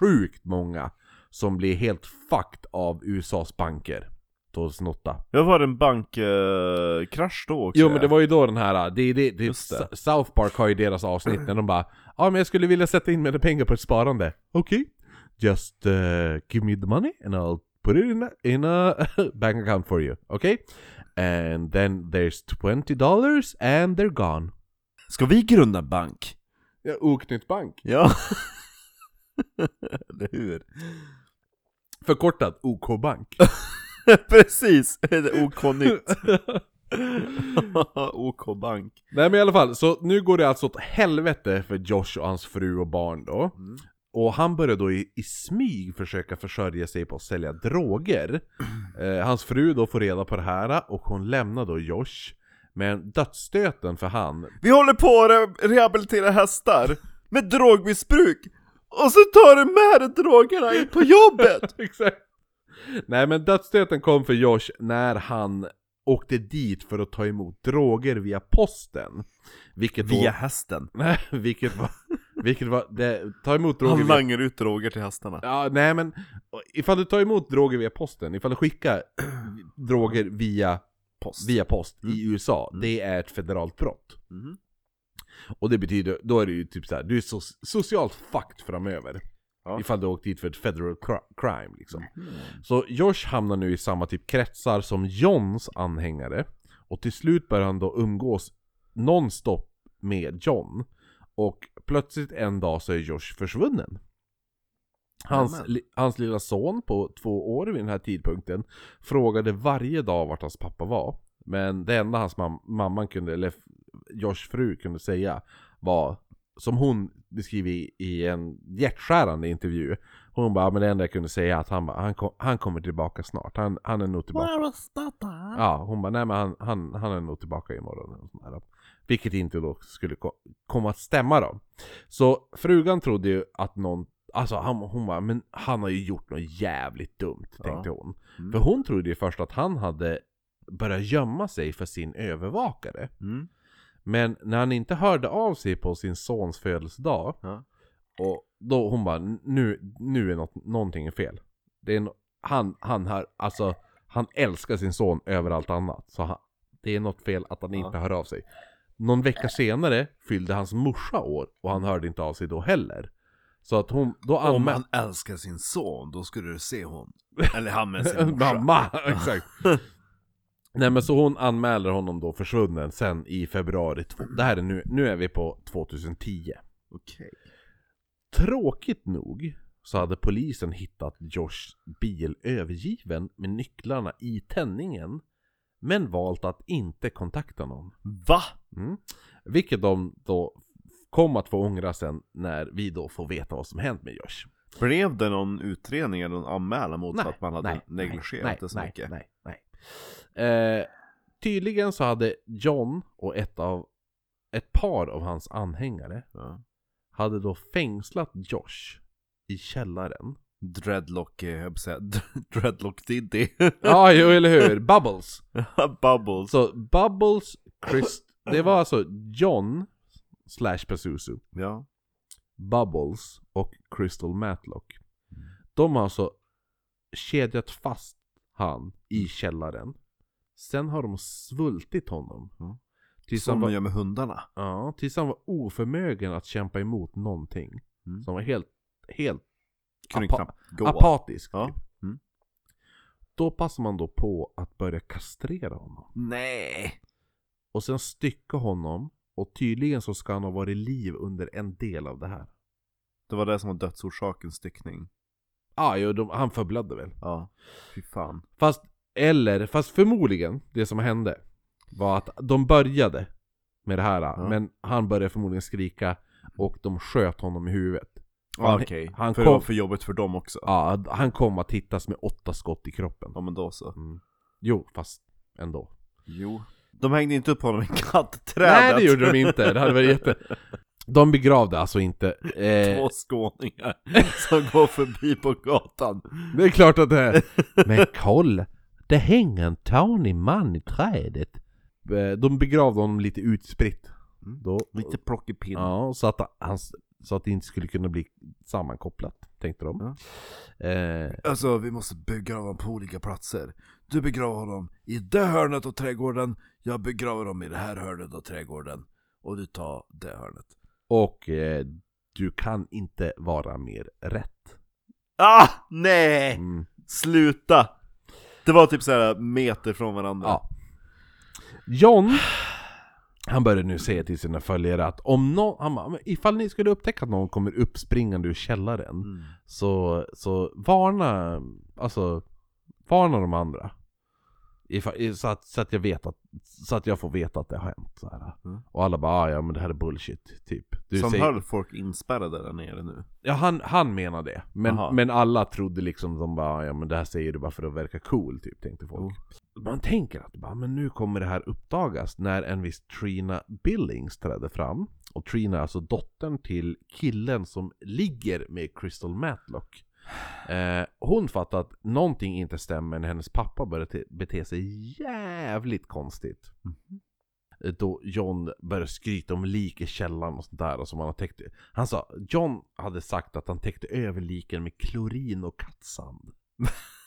sjukt många som blir helt fucked av USAs banker 2008. Jag var en bankkrasch då också. Jo men det var ju då den här, äh, det, det, det, Just det. S- South Park har ju deras avsnitt när de bara Ja men jag skulle vilja sätta in mina pengar på ett sparande Okej Just eh, give me the money and I'll put it in a, in a bank account for you Okej? And then there's 20 dollars and they're gone Ska vi grunda bank? Ja, oknytt bank Ja. Eller hur? Förkortat OK-bank Precis! OK-nytt. OK-bank. Nej men i alla fall, så nu går det alltså åt helvete för Josh och hans fru och barn då. Och han börjar då i, i smyg försöka försörja sig på att sälja droger. Eh, hans fru då får reda på det här och hon lämnar då Josh. Men dödsstöten för han, Vi håller på att re- rehabilitera hästar med drogmissbruk och så tar du med dig drogerna in på jobbet! Exakt. Nej men dödsstöten kom för Josh när han åkte dit för att ta emot droger via posten. Vilket då... hästen. Nej, vilket var... Vilket var... Det, ta emot droger Han via langar ut droger till hästarna. Ja, nej men ifall du tar emot droger via posten, ifall du skickar droger via Post. via post Mm. i USA, det är ett federalt brott. Mhm. Och det betyder, då är det ju typ så här, du är so socialt fucked framöver. Ja. Ifall du har åkt dit för ett federal cr- crime liksom. Så Josh hamnar nu i samma typ kretsar som Johns anhängare. Och till slut börjar han då umgås nonstop med John. Och plötsligt en dag så är Josh försvunnen. Hans, Amen. li, hans lilla son på två år vid den här tidpunkten frågade varje dag vart hans pappa var. Men det enda hans mam- mamman kunde, eller f- Joshs fru kunde säga var, som hon beskriver i, i en hjärtskärande intervju. Hon bara, "Ja, men det enda jag kunde säga är att han, bara, han, kom, han kommer tillbaka snart. Han, han är nog tillbaka. Ja, hon bara, nej men han, han, han är nog tillbaka imorgon. Och sådär. Vilket inte då skulle ko- komma att stämma då. Så frugan trodde ju att någon, alltså han, hon bara, men han har ju gjort något jävligt dumt, Ja. tänkte hon. Mm. För hon trodde ju först att han hade börjat gömma sig för sin övervakare. Mm. Men när han inte hörde av sig på sin sons födelsedag, Ja. och då hon bara, nu, nu är något, någonting är fel. Det är no- han, han här, alltså, han älskar sin son över allt annat. Så han, det är något fel att han Ja. inte hör av sig. Någon vecka senare fyllde hans morsa år och han hörde inte av sig då heller. Så att hon, då Om anmälde... han älskar sin son, då skulle du se hon. Eller han med sin morsa. Mamma! Exakt. Nej men så hon anmäler honom då försvunnen sen i februari 2. Det här är nu, nu är vi på 2010. Okej. Tråkigt nog så hade polisen hittat Joshs bil övergiven med nycklarna i tändningen men valt att inte kontakta någon. Va? Mm. Vilket de då kom att få ångra sen när vi då får veta vad som hänt med Josh. Blev det någon utredning eller någon anmälan mot att man hade negligerat nej, det så nej, mycket? Nej, nej. Eh, tydligen så hade John och ett, av, ett par av hans anhängare Ja. hade då fängslat Josh i källaren. Dreadlock, eh, jag höll på att säga, Dreadlock Diddy. Ja, jo eller hur! Bubbles! Bubbles. Så Bubbles, Chris... Det var alltså John slash Pazuzu, Ja. Bubbles och Crystal Matlock. De har alltså kedjat fast han i källaren. Sen har de svultit honom. Ja. Tills han, Mm. Som de var, gör med hundarna. ja, tills han var oförmögen att kämpa emot någonting. Mm. Så han var helt, helt Kunde apa- knappt gå. apatisk. Ja. Typ. Mm. Då passar man då på att börja kastrera honom. Nej! Och sen stycka honom. Och tydligen så ska han ha varit i liv under en del av det här. Det var det som var dödsorsaken, styckning. Ah, jo, de, han förblödde väl. Ja, fy fan. Fast, eller, fast förmodligen, det som hände var att de började med det här, men han började förmodligen skrika och de sköt honom i huvudet. Ah, Han- Okej, han för det var kom- för jobbigt för dem också. Ja, han kom att hittas med åtta skott i kroppen. Ja men då så. Jo, fast ändå. Jo. De hängde inte upp honom i kattträdet. Nej, det gjorde de inte. Det hade varit jätte... De begravde alltså inte. Eh, Två skåningar som går förbi på gatan. det är klart att det är. Men kolla, det hänger en tanig man i trädet. Eh, De begravde honom lite utspritt. Mm. Då, Lite plockepinn. Ja, så att, han, så att det inte skulle kunna bli sammankopplat, tänkte de. Eh, Alltså vi måste begrava honom på olika platser. Du begraver honom i det hörnet av trädgården. Jag begraver honom i det här hörnet av trädgården. Och du tar det hörnet. och eh, du kan inte vara mer rätt. Ah! Nej! Mm. Sluta! Det var typ så här meter från varandra. Ja. John, han började nu säga till sina följare att om någon, han, bara, "Men ifall ni skulle upptäcka att någon kommer uppspringande ur källaren Mm. så, så varna, alltså varna de andra. Ifall, i- så, att, så, att jag vet att, så att jag får veta att det har hänt. Så här. Mm. Och alla bara "Ah, ja men det här är bullshit, typ. Du Som säger- höll folk inspärrade där nere nu. Ja, han, han menar det. Aha. Men, men alla trodde liksom de bara, ja men det här säger du bara för att verka cool, typ, tänkte folk. Man tänker att bara, men nu kommer det här uppdagas när en viss Trina Billings trädde fram. Och Trina är alltså dottern till killen som ligger med Crystal Matlock. Eh, hon fattar att någonting inte stämmer när hennes pappa börjar te- bete sig jävligt konstigt. Eh, Då John börjar skryta om lik i källaren och sånt där och som han har täckt han sa, John hade sagt att han täckte över liken med klorin och kattsand.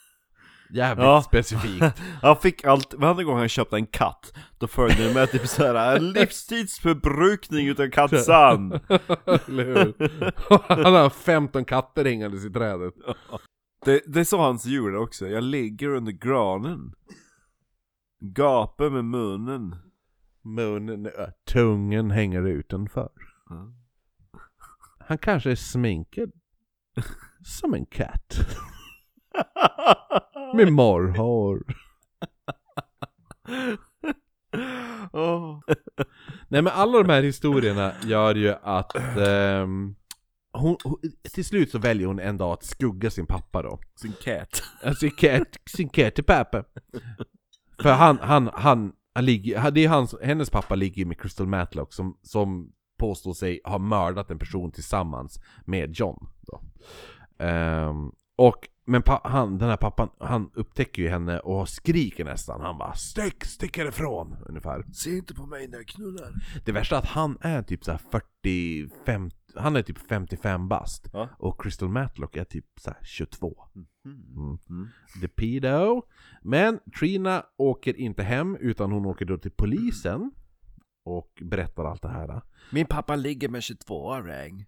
Jävligt Ja. specifikt. Han fick allt, varje gång han köpte en katt, då följde det med typ såhär en livstidsförbrukning utav kattsand! Eller hur? Han har 15 katter hängandes i trädet. Det, det är så hans djur är också, jag ligger under granen. Gapar med munnen. Munnen, ö, tungen hänger utanför. Ja. Han kanske är sminkad. Som en katt. Med morrhår. Åh. Nej men alla de här historierna gör ju att ehm, hon, hon, till slut så väljer hon en dag att skugga sin pappa då. Sin cat. Alltså cat, sin Kätepappa. För han, han, han, han ligger, han- det är hans, hennes pappa ligger ju med Crystal Matlock som, som påstår sig ha mördat en person tillsammans med John. Då. Ehm, och, men pa, han, den här pappan, han upptäcker ju henne och skriker nästan. Han bara 'Stick, stick härifrån!' ungefär. Se inte på mig när jag knullar. Det värsta är att han är typ så här 40, 50, han är typ 55 bast. Ja. Mhm. Och Crystal Matlock är typ så här 22. Mm. Mm. The pedo. Men Trina åker inte hem utan hon åker då till polisen. Och berättar allt det här. Min pappa ligger med 22-åring.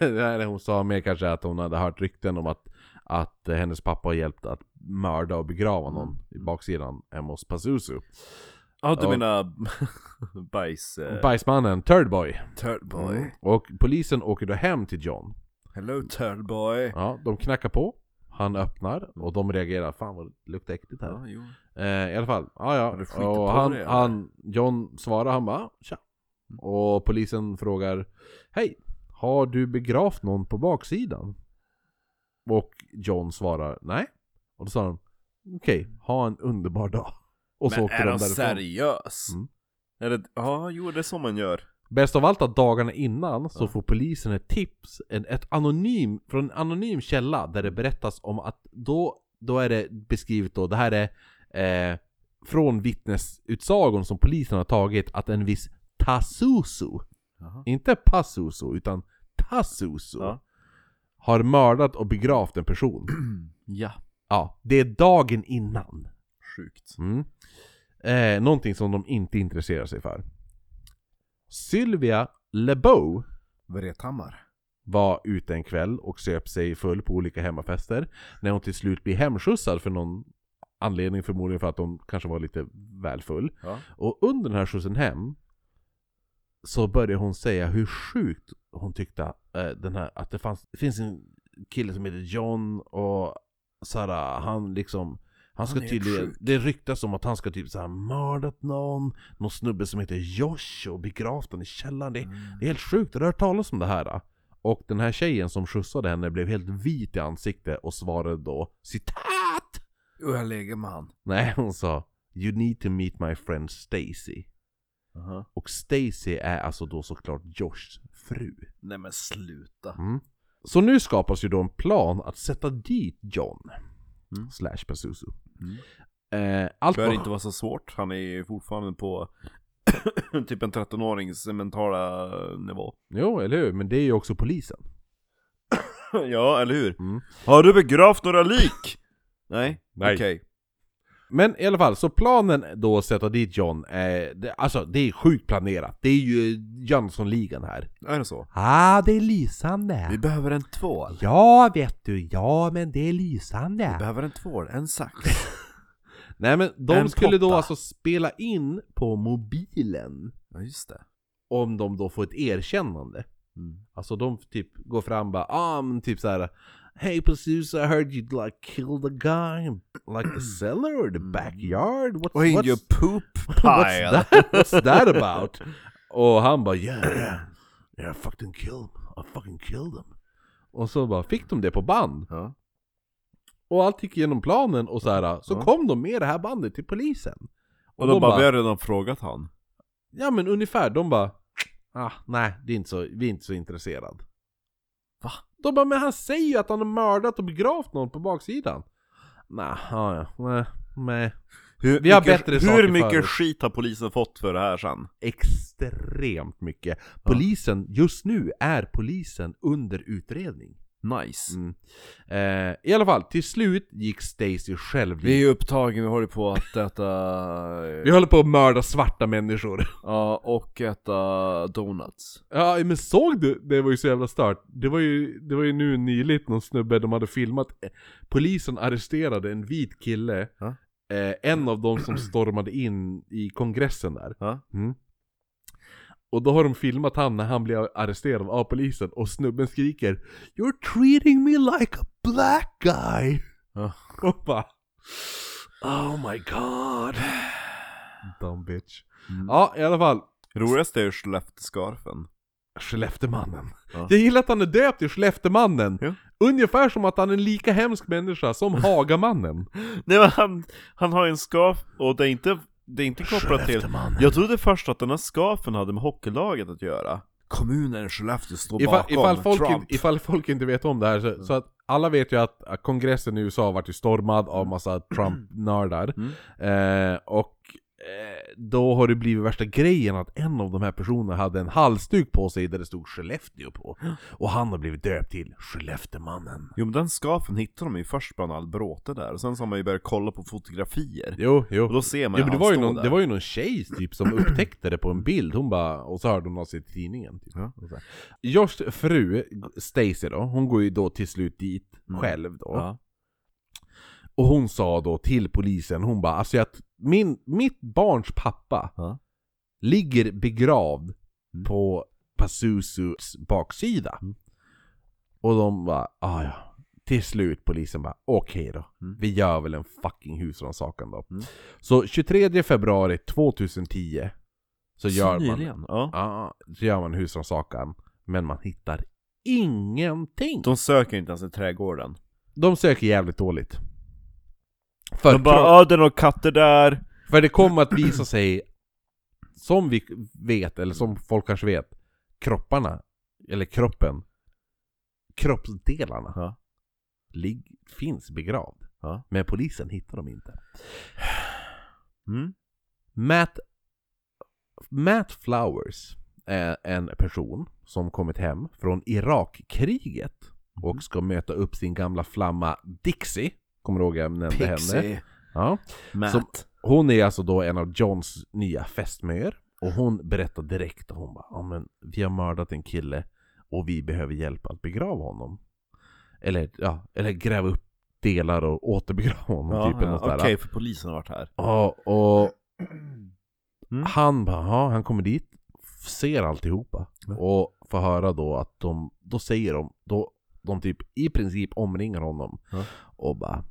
det här hon sa mer kanske att hon hade hört rykten om att, att hennes pappa har hjälpt att mörda och begrava någon Mm. i baksidan hemma hos Pazuzu. Ja, du Ja. menar bajs... eh, Bajsmannen, Turdboy. Turdboy. Och polisen åker då hem till John. Hello Turdboy. Ja, de knackar på. Han öppnar och de reagerar. Fan vad det luktar äckligt här. Ja, jo. Eh, I alla fall, ja Har du skitit ja. på Och han, dig, eller? Mm. han, John svarar, han bara tja. Och polisen frågar Hej, har du begravt någon på baksidan? Och John svarar nej. Och då sa de Okej, ha en underbar dag. Och så Men åkte är de han därifrån. seriös? Mm. Är det, ja, jo det är så man gör. Bäst av allt att dagarna innan så Ja. får polisen ett tips en, ett anonym, från en anonym källa där det berättas om att då, då är det beskrivet då, det här är eh, från vittnesutsagor som polisen har tagit att en viss Tasusu, Jaha. inte Passuso utan Tasusu, Ja. har mördat och begravt en person. Ja. Ja, det är dagen innan. Sjukt. Mm. Eh, någonting som de inte intresserar sig för. Sylvia LeBeau Vrethammar. var ute en kväll och söp sig full på olika hemmafester. När hon till slut blir hemskjutsad för någon Anledning förmodligen för att de kanske var lite väl full. Ja. Och under den här skjutsen hem så började hon säga hur sjukt hon tyckte eh, den här, att det fanns, det finns en kille som heter John och såhär, han liksom han ska Han är tydligen, sjuk. det ryktas om att han ska typ såhär mördat någon, någon snubbe som heter Josh och begravt honom i källaren. Det, det är helt sjukt, har du hört talas om det här? Då? Och den här tjejen som skjutsade henne blev helt vit i ansiktet och svarade då citat! Och jag lägger med han. Nej, hon sa You need to meet my friend Stacy. Och Stacy är alltså då såklart Joshs fru. Nej men sluta. Mm. Så nu skapas ju då en plan att sätta dit John. Mm. Slash Pazuzu. Mm. Eh, allt Bör var- inte vara så svårt, han är ju fortfarande på typ en 13-årings mentala nivå. Jo, eller hur? Men det är ju också polisen. ja, eller hur? Mm. Har du begravt några lik? Nej, Nej. okej. Men i alla fall, så planen då att sätta dit John, eh, det, alltså det är sjukt planerat. Det är ju Jönssonligan här. Är det så? Ah, det är lysande! Vi behöver en tvål. Ja, vet du. Ja, men det är lysande. Vi behöver en tvål, en sax. Nej men de En skulle då potta. alltså spela in på mobilen ja, just det. om de då får ett erkännande. Mm. Alltså de typ går fram och bara ah, men typ så här. Hey Pazus, I heard you like killed a guy like the cellar or the backyard? What's, Och in what's, your poop what's, pile. that, what's that about? Och han bara yeah, yeah, yeah, I fucking killed him. I fucking killed him. Och så bara fick de det på band. Ja. Och allt gick igenom planen och så här. så Ja. kom de med det här bandet till polisen. Och de, bara, vi har redan frågat han. Ja men ungefär, de bara ah, Nej, det är inte så, vi är inte så intresserade Va? De bara, men han säger ju att han har mördat och begravt någon på baksidan Nej, ja, ja, nej, nej Hur, Vi har mycket, bättre hur saker mycket för oss. skit har polisen fått för det här sen? Extremt mycket Polisen, just nu är polisen under utredning Nice. mm. eh, I alla fall, till slut gick Stacy själv Vi dit är ju upptagen, vi håller på att äta... Vi håller på att mörda svarta människor Ja, och äta donuts. Ja men såg du? Det var ju så jävla stört. Det var ju, det var ju nu nyligt någon snubbe de hade filmat. Eh, Polisen arresterade en vit kille. Ja. Eh, en av dem som stormade in i kongressen där. Ja. Mm. Och då har de filmat han när han blir arresterad av polisen och snubben skriker You're treating me like a black guy! Ja. Och bara Oh my god! Dumb bitch. Mm. Ja, i alla fall. Roligast är ju Skellefteåskarfen. Skelleftemannen. Ja. Jag gillar att han är döpt till Skelleftemannen. Ja. Ungefär som att han är en lika hemsk människa som Hagamannen. Nej men han, han har ju en scarf och det är inte, det är inte kopplat till... Skelleftemannen. Jag trodde först att den här scarfen hade med hockeylaget att göra. Kommunen Skellefteå står Ifall, ifall, folk in, ifall folk inte vet om det här, så, så att alla vet ju att att kongressen i USA vart ju stormad av massa Trump-nördar. Mm. Eh, och eh, då har det blivit värsta grejen att en av de här personerna hade en halsduk på sig där det stod Skellefteå på. Och han har blivit döpt till Skelleftemannen. Jo men den scarfen hittade de ju först bland all bråte där, och sen så har man ju börjat kolla på fotografier. Jo, jo. Och då ser man Ja, ju men det, han var ju stå någon, där. det var ju någon tjej typ som upptäckte det på en bild, hon bara, och så hörde hon av sig till tidningen. Typ. Ja. Och så här. Joshs fru, Stacy då, hon går ju då till slut dit Mm. själv då. Ja. Och hon sa då till polisen, hon bara, alltså att min, mitt barns pappa Ja. ligger begravd Mm. på Pazuzus baksida. Mm. Och de bara, ah, ja. Till slut polisen bara, okej då. Mm. Vi gör väl en fucking husrannsakan då. Mm. Så 23 februari 2010 så gör, så man, nyligen. Ja. ja, så gör man husrannsakan, men man hittar ingenting. De söker inte ens i trädgården. De söker jävligt dåligt. För De bara ja det är några katter där. För det kommer att visa sig, som vi vet, eller som folk kanske vet, kropparna, eller kroppen, kroppsdelarna Ja. lig- finns begravd. Ja. Men polisen hittar dem inte. Mm. Matt, Matt Flowers är en person som kommit hem från Irakkriget Mhm. och ska möta upp sin gamla flamma Dixie. Kommer du ihåg jag nämnde henne? Pixie. Ja. Matt. Som- typ Hon är alltså då en av Johns nya fästmöer och hon berättar direkt och hon bara ja men vi har mördat en kille och vi behöver hjälp att begrava honom. Eller ja, eller gräva upp delar och återbegrava honom. Ja, typ, eller ja, något Okej, sådär. för polisen har varit här. Ja, och Mm. han bara, "Ja, han kommer dit, ser alltihopa. Ja. Och får höra då att de, då säger de, då, de typ i princip omringar honom. Ja. Och bara,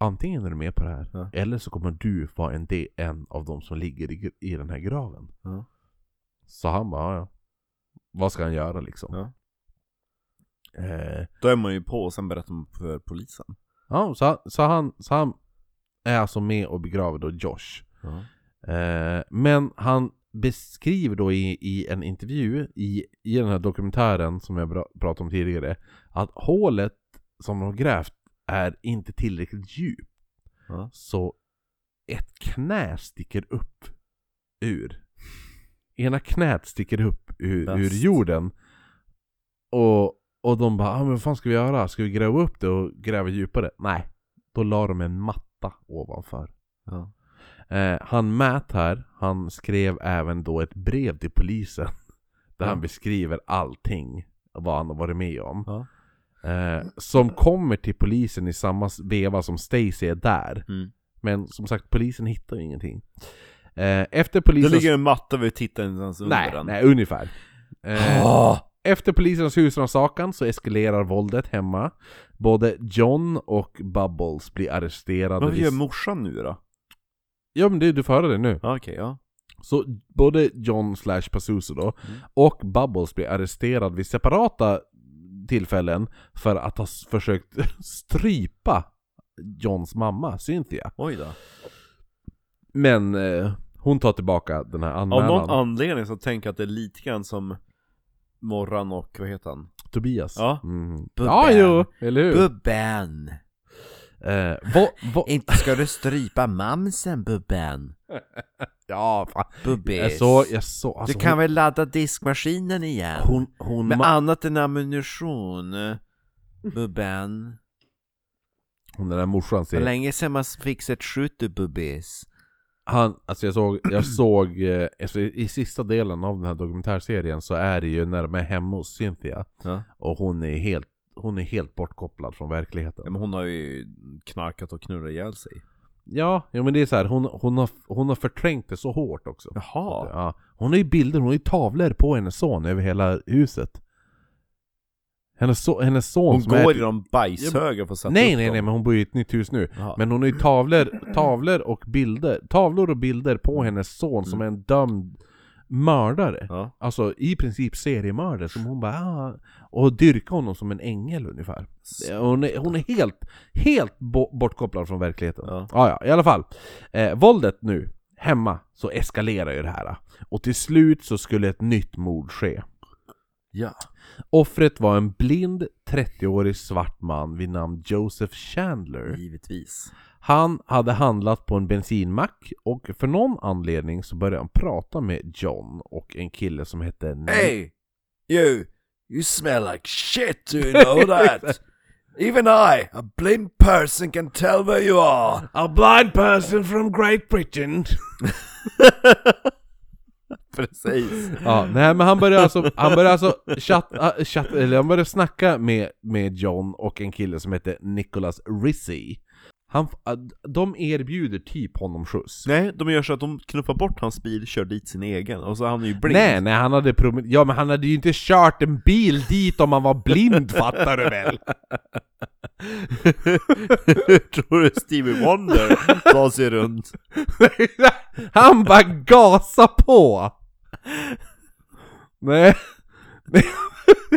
antingen är du med på det här, Ja. eller så kommer du vara en, del- en av de som ligger i, gr- i den här graven. Ja. Så han bara, "Ja, ja. Vad ska han göra liksom? Ja. Eh, Då är man ju på och sen berättar man för polisen. ja så, han- så, han, så han är alltså med och begraver då Josh. Ja. Eh, men han beskriver då i, i en intervju i, i den här dokumentären som jag bra- pratade om tidigare att hålet som de har grävt är inte tillräckligt djupt. Ja. Så ett knä sticker upp ur. Ena knät sticker upp ur, ur Bäst. jorden. Och, och de bara ah, men vad fan ska vi göra? Ska vi gräva upp det och gräva djupare? Nej. Då la de en matta ovanför. Ja. Eh, han Matt här, han skrev även då ett brev till polisen. Där Ja. han beskriver allting, vad han har varit med om. Ja. Eh, som kommer till polisen i samma veva som Stacy är där. Mm. Men som sagt, polisen hittar ju ingenting. Eh, efter polisen... Det ligger en matta vi tittar inte ens under nej, den. nej, ungefär. Eh, Ah! efter polisens husrannsakan så eskalerar våldet hemma. Både John och Bubbles blir arresterade. Vad vid- gör morsan nu då? ja men det, du får höra det nu. Ja, Okej, ja. Så både John slash Pazuzu då, Mm. och Bubbles blir arresterad vid separata tillfällen för att ha s- försökt strypa Johns mamma, Cynthia. Oj då. Men eh, hon tar tillbaka den här Av anmälan. någon anledning så tänker jag att det är lite grann som Morran och vad heter han? Tobias. Ja. Mm. Bubben. ja jo, eller hur? Bubben! Eh, vad- vad- Inte ska du strypa mamsen Bubben! ja, fan. Bubbis! Jag såg, jag såg, alltså, hon, väl ladda diskmaskinen igen? hon, hon, Med ma- annat än ammunition, eh, Bubben. hon den där morsan Det var ser, länge sedan man fick se ett skjuter, Bubbis. han, alltså jag såg, jag såg, eh, alltså, i, i sista delen av den här dokumentärserien så är det ju när de är hemma hos Cynthia. Ja. Och hon är helt, hon är helt bortkopplad från verkligheten. Men hon har ju knarkat och knurrat ihjäl sig. Ja, ja men det är så här, hon, hon, har, hon har förträngt det så hårt också. Jaha. Ja, hon har ju bilder, hon har ju tavlor på hennes son över hela huset. Hennes, so, hennes son Hon som går är... i de bajshögar för att sätta Nej upp nej dem. nej, men hon bor ju i ett nytt hus nu. Jaha. Men hon har ju tavlor, tavlor och bilder, tavlor och bilder på hennes son som är Mm. en dömd mördare. Ja. Alltså i princip seriemördare som hon bara ah, och dyrkar honom som en ängel ungefär. Eh, Hon är, hon är helt, helt bo- bortkopplad från verkligheten. Ja. Ja, ja, i alla fall. Eh, våldet nu, hemma, så eskalerar ju det här. Och till slut så skulle ett nytt mord ske. ja. Offret var en blind 30-årig svart man vid namn Joseph Chandler. Givetvis. Han hade handlat på en bensinmack och för någon anledning så började han prata med John och en kille som hette... Nan- Hey, you, you smell like shit, do you know that? Even I, a blind person, can tell where you are. A blind person from Great Britain! Precis. Ja, nej men han började alltså, han började alltså chatta, chatta, eller han började snacka med, med John och en kille som hette Nicholas Rizzi. Han, ah, de erbjuder typ honom skjuts. Nej, de gör så att de knuffar bort hans bil, kör dit sin egen, och så är han ju blind. Nej, nej han hade prom- Ja men han hade ju inte kört en bil dit om han var blind fattar du väl? Tror du Stevie Wonder tar sig runt? Han bara gasar på! Nej.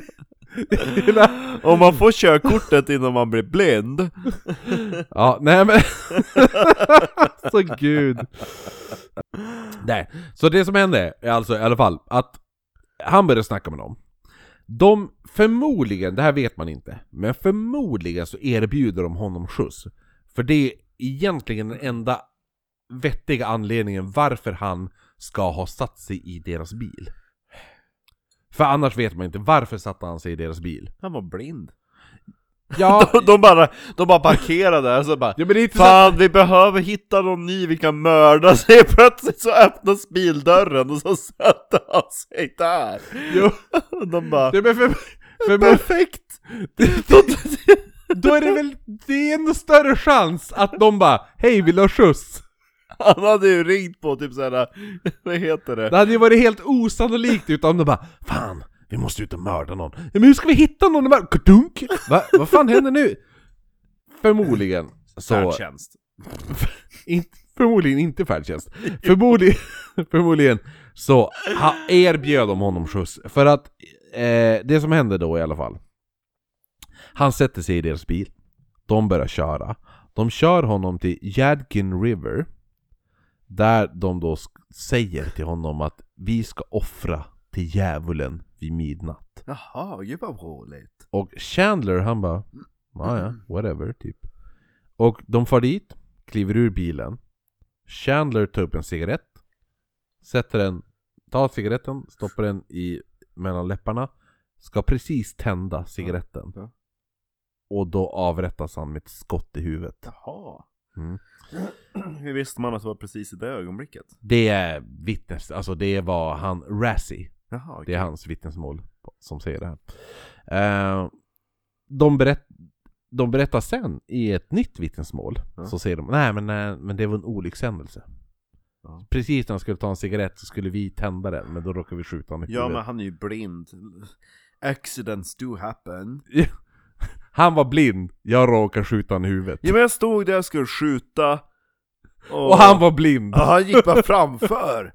Om man får körkortet innan man blir blind, Ja, nej men... så gud. Nej, så det som hände är alltså i alla fall att han började snacka med dem. De förmodligen, det här vet man inte, men förmodligen så erbjuder de honom skjuts. För det är egentligen den enda vettiga anledningen varför han ska ha satt sig i deras bil. För annars vet man inte varför satte han sig i deras bil. han var blind. Ja, De bara, de bara parkerade där, så bara ja men det är inte så att- Fan, vi behöver hitta någon ny vi kan mörda, så helt plötsligt så öppnas bildörren och så sätter han sig där! Jo. Och de bara Det är för, för, för, Perfekt! De, Då är det väl, det är en större chans att de bara Hej, vill du ha skjuts? Han hade ju ringt på typ såhär, vad heter det? Det hade ju varit helt osannolikt utan de bara Fan, vi måste ut och mörda någon. Ja, Men hur ska vi hitta någon? De bara, Kardunk! Va? Vad fan händer nu? Förmodligen så... Färdtjänst. Inte, förmodligen inte färdtjänst. Förmodligen, förmodligen så ha, erbjöd de honom skjuts. För att eh, det som hände då i alla fall. Han sätter sig i deras bil. De börjar köra. De kör honom till Yadkin River. Där de då sk- säger till honom att vi ska offra till djävulen vid midnatt. Jaha, gud vad roligt. Och Chandler han bara ja ja, whatever typ Och de far dit, kliver ur bilen Chandler tar upp en cigarett Sätter den, tar cigaretten, stoppar den i mellan läpparna Ska precis tända cigaretten Ja. Och då avrättas han med ett skott i huvudet Jaha. Mm. Hur visste man att det var precis i det ögonblicket? Det är vittnes, alltså det var han Razzie Jaha, Det är hans vittnesmål som säger det här. Eh, de, berätt, de berättar sen i ett nytt vittnesmål, Ja. så säger de nej men, nej, men det var en olyckshändelse. Ja. Precis när han skulle ta en cigarett så skulle vi tända den, men då råkade vi skjuta honom i Ja huvudet. men han är ju blind. Accidents do happen. Han var blind, jag råkade skjuta honom i huvudet. Ja men jag stod där och skulle skjuta. Och han var blind! Ja, han gick bara framför!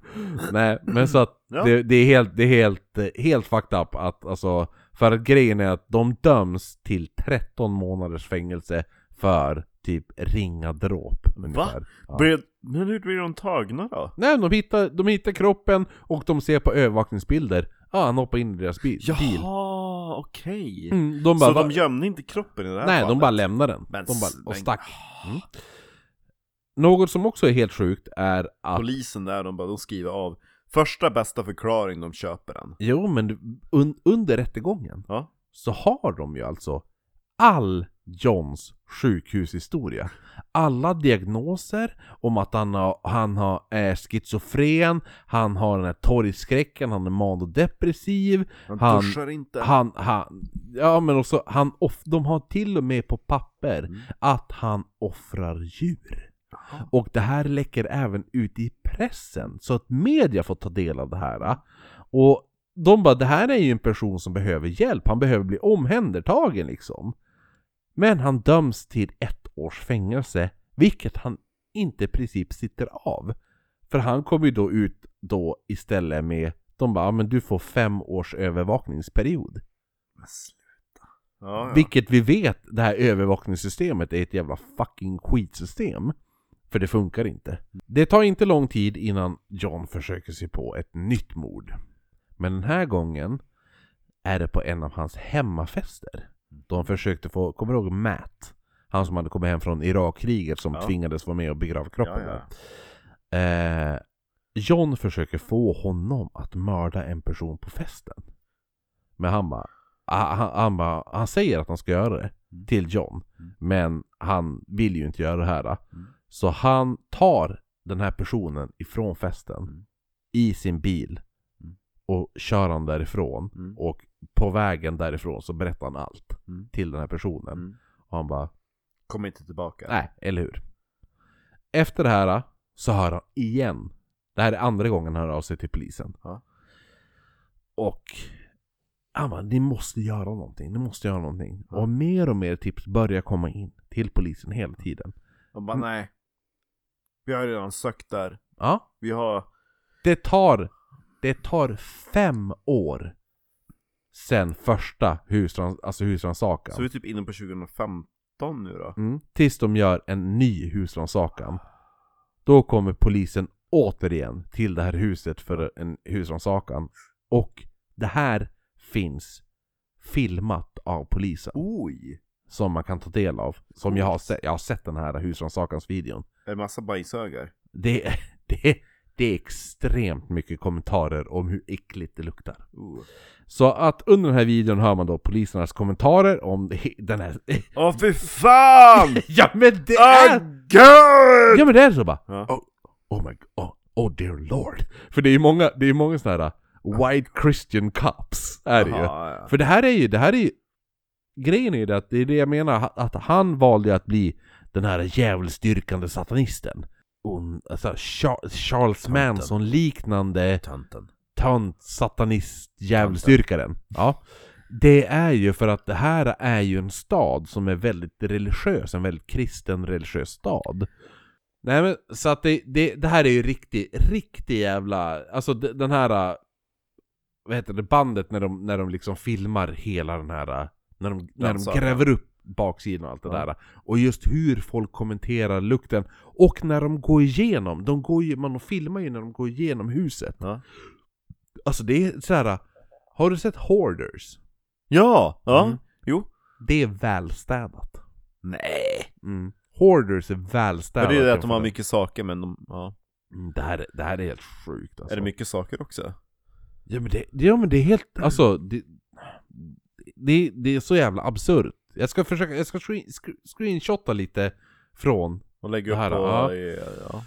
Nej, men så att Ja. det, det är helt, det är helt, eh, helt fucked up att alltså, för att grejen är att de döms till 13 månaders fängelse för typ ringa dråp. ungefär. Ja. Blev- Men hur blir de tagna då? Nej, de hittar, de hittar kroppen och de ser på övervakningsbilder. Ja, han hoppar in i deras bi- bil. Jaha, okej. Mm, de bara, Så de "Va?" gömde inte kroppen i det här Nej, fallet? de bara lämnar den. Men de bara, s- men- och stack. Mm. Något som också är helt sjukt är att... Polisen där, de bara, de skriver av. Första bästa förklaring, de köper den. Jo, men du- un, under rättegången Ja. så har de ju alltså all Johns sjukhushistoria. Alla diagnoser om att han, har, han har, är schizofren, han har den här torgskräcken, han är manodepressiv, Han, Han- duschar inte. Han, han, ja men också, han off, de har till och med på papper Mm. att han offrar djur. Och det här läcker även ut i pressen, så att media får ta del av det här. Och de bara, det här är ju en person som behöver hjälp, han behöver bli omhändertagen liksom. Men han döms till ett års fängelse, vilket han inte i princip sitter av. För han kommer ju då ut då istället med, de bara, "Ja, men du får fem års övervakningsperiod. Men sluta. Ja, ja. Vilket vi vet, det här övervakningssystemet är ett jävla fucking skitsystem. För det funkar inte. Det tar inte lång tid innan John försöker sig på ett nytt mord. Men den här gången är det på en av hans hemmafester. De försökte få, kommer du ihåg Matt? Han som hade kommit hem från Irakkriget som Ja. tvingades vara med och begrava kroppen. Ja, ja. där. Eh, John försöker få honom att mörda en person på festen. Men han bara, ah, han, han, han, bara, han säger att han ska göra det Mm. till John. Men han vill ju inte göra det här. Mm. Så han tar den här personen ifrån festen Mm. i sin bil Mm. och kör han därifrån. Mm. Och på vägen därifrån så berättar han allt Mm. till den här personen. Mm. Och han bara, Kommer inte tillbaka. nej, eller hur? Efter det här så hör han igen. Det här är andra gången han hör av sig till polisen. Ja. Och han bara, ni måste göra någonting, ni måste göra någonting. Och mer och mer tips börjar komma in till polisen hela tiden. De bara, nej. Vi har redan sökt där. Ja, Vi har... Det tar, det tar fem år sen första husrans, alltså husrannsakan. Så vi är typ inne på 2015 nu då. Mm. Tills de gör en ny husrannsakan. Då kommer polisen återigen till det här huset för en husrannsakan. Och det här finns filmat av polisen. Oj! Som man kan ta del av. Som jag har sett, jag har sett den här husrannsakansvideon. En massa bajshögar. Det, det, det är extremt mycket kommentarer om hur äckligt det luktar. Uh. Så att under den här videon hör man då polisernas kommentarer om he- den här... Åh fy fan! ja men det Ah, är... gud! Ja men det är så bara... Ja. Oh, oh my god, oh, oh dear lord. För det är ju många, det är ju många sådana här uh, white Christian cops, är det ju. Jaha, ja. För det här är ju, det här är ju grejen är ju det att det är det jag menar, ha- att han valde att bli den här djävulsdyrkande satanisten. Och, alltså Cha- Charles Tanten. Manson-liknande Tanten. tant satanist djävulsdyrkaren. Ja. Det är ju för att det här är ju en stad som är väldigt religiös, en väldigt kristen religiös stad. Nej men så att det, det, det här är ju riktig, riktig jävla, alltså d- den här, äh, vad heter det, bandet när de, när de liksom filmar hela den här, äh, när de, när Dansar, de ja. gräver upp baksidan och allt det Ja. där. Och just hur folk kommenterar lukten, och när de går igenom, de går ju, man filmar ju när de går igenom huset. Ja. Alltså det är så här. Har du sett Hoarders? Ja! Ja! Mm. Jo. Det är välstädat. Nej. Mm. Hoarders är Men välstädat. det är ju det att de har mycket saker men de, ja. Mm, Det här, det här är helt sjukt alltså. Är det mycket Mm. saker också? Ja men det, ja, men det är helt, alltså det, det, det är så jävla absurt. Jag ska försöka, jag ska screen, sc- screenshotta lite från, Och lägger Det upp här, på, ja. ja.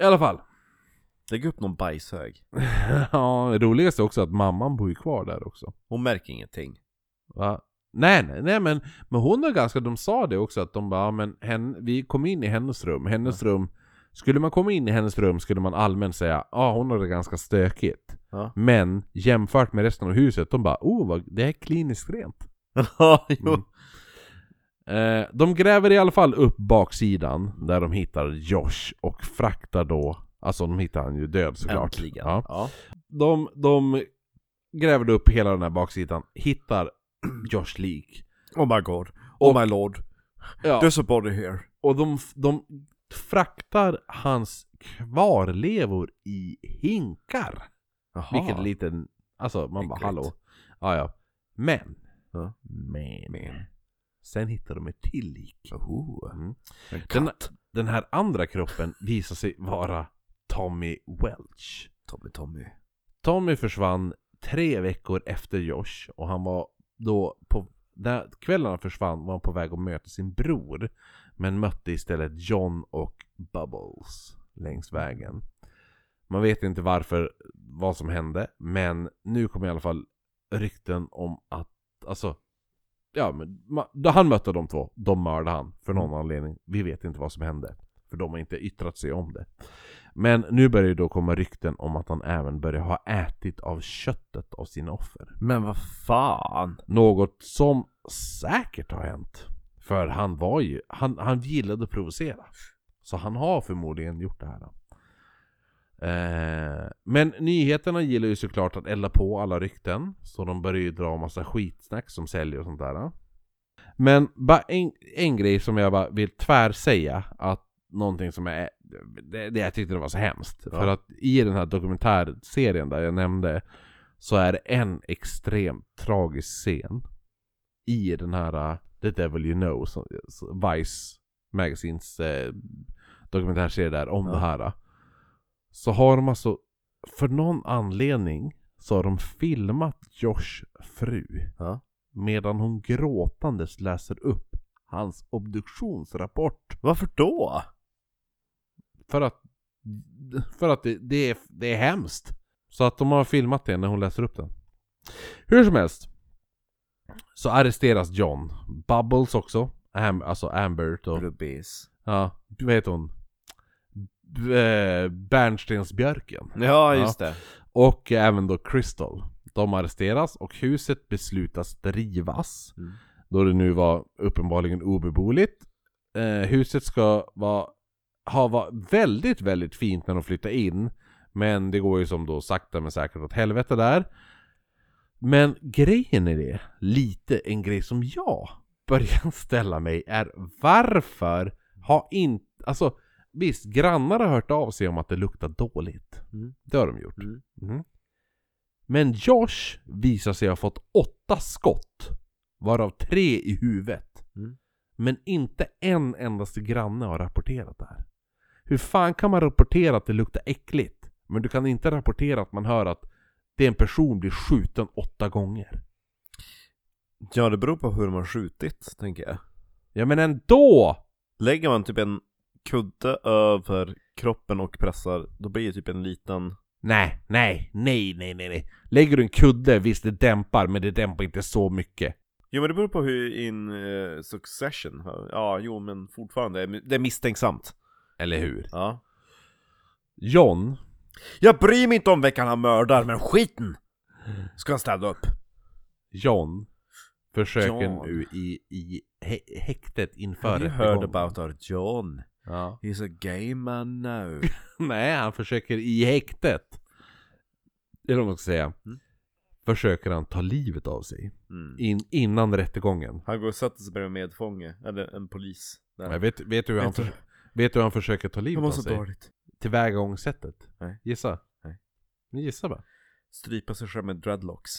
i alla fall. Lägg upp någon bajshög. ja, det roligaste är också att mamman bor ju kvar där också. Hon märker ingenting. Va? Nej, nej, nej men, men hon har ganska, de sa det också att de bara, ja, men hen, vi kom in i hennes rum, hennes rum, skulle man komma in i hennes rum skulle man allmänt säga, ja ah, hon har det ganska stökigt. Ja. Men jämfört med resten av huset, de bara, oh vad, det här är kliniskt rent. Ja, jo. Mm. Eh, de gräver i alla fall upp baksidan där de hittar Josh och fraktar då, alltså de hittar han ju död såklart. Äntligen. Ja. Ja. De, de gräver upp hela den här baksidan, hittar Josh lik. Oh my god. Oh Och- my lord. Ja. There's a body here. Och de, de fraktar hans kvarlevor i hinkar. Jaha. Vilket liten... Alltså man bara Äckligt. hallå. Ja, ja. Men. Ja. Men. Sen hittar de ett till lik. Mm. En Den, katt. den här andra kroppen visar sig vara Tommy Welch. Tommy Tommy. Tommy försvann tre veckor efter Josh och han var då på där kvällen han försvann var han på väg att möta sin bror men mötte istället John och Bubbles längs vägen. Man vet inte varför, vad som hände, men nu kommer i alla fall rykten om att, alltså, ja men ma- då han mötte de två, de mördade han för någon anledning. Vi vet inte vad som hände, för de har inte yttrat sig om det. Men nu börjar det då komma rykten om att han även börjar ha ätit av köttet av sina offer. Men vad fan. Något som säkert har hänt. För han var ju, han, han gillade att provocera. Så han har förmodligen gjort det här. Eh, men nyheterna gillar ju såklart att elda på alla rykten. Så de börjar ju dra massa skitsnack som säljer och sånt där. Men bara en, en grej som jag bara vill tvärsäga att någonting som jag, det, det jag tyckte det var så hemskt. För att i den här dokumentärserien där jag nämnde så är det en extremt tragisk scen i den här uh, The Devil You Know, som, som Vice Magazines eh, dokumentärserie där om Ja. det här. uh. Så har de alltså, för någon anledning, så har de filmat Josh fru Ja. medan hon gråtandes läser upp hans obduktionsrapport. Varför då? För att, för att det, det, är, det är hemskt. Så att de har filmat det när hon läser upp den. Hur som helst. Så arresteras John. Bubbles också. Am, alltså Amber då. Rubbis. Ja, vad heter hon? B- eh, Bärnstensbjörken. Ja, just just det. Och även då Crystal. De arresteras och huset beslutas rivas. Mm. Då det nu var uppenbarligen obeboeligt. Eh, huset ska vara, ha varit väldigt, väldigt fint när de flyttade in. Men det går ju som då sakta men säkert åt helvete där. Men grejen är det, lite en grej som jag börjar ställa mig är varför har inte, alltså visst grannar har hört av sig om att det luktar dåligt. Mm. Det har de gjort. Mm. Mhm. Men Josh visar sig ha fått åtta skott, varav tre i huvudet. Mm. Men inte en endaste granne har rapporterat det här. Hur fan kan man rapportera att det luktar äckligt? Men du kan inte rapportera att man hör att det är en person blir skjuten åtta gånger. Ja, det beror på hur de har skjutit, tänker jag. Ja men ändå! Lägger man typ en kudde över kroppen och pressar, då blir det typ en liten... Nej, nej, nej, nej, nej, nej. Lägger du en kudde, visst det dämpar, men det dämpar inte så mycket. Jo men det beror på hur in eh, Succession har- Ja jo men fortfarande, det är mi- det är misstänksamt Eller hur? Ja John, Jag bryr mig inte om veckan han mördar men skiten! Ska han städa upp? John försöker John. nu i, i hä- häktet inför Have you heard rättegången. about our John? Ja. He's a gay man now Nej, han försöker i häktet. Eller vad man ska säga. Försöker han ta livet av sig. Mm. In, innan rättegången. Han går och sätter sig bredvid en medfånge, eller en polis där. Nej, vet, vet, du hur han Vet du- förs- vet du hur han försöker ta livet av sig? dåligt Tillvägagångssättet? Nej. Gissa? Nej. Men gissa bara. Strypa sig själv med dreadlocks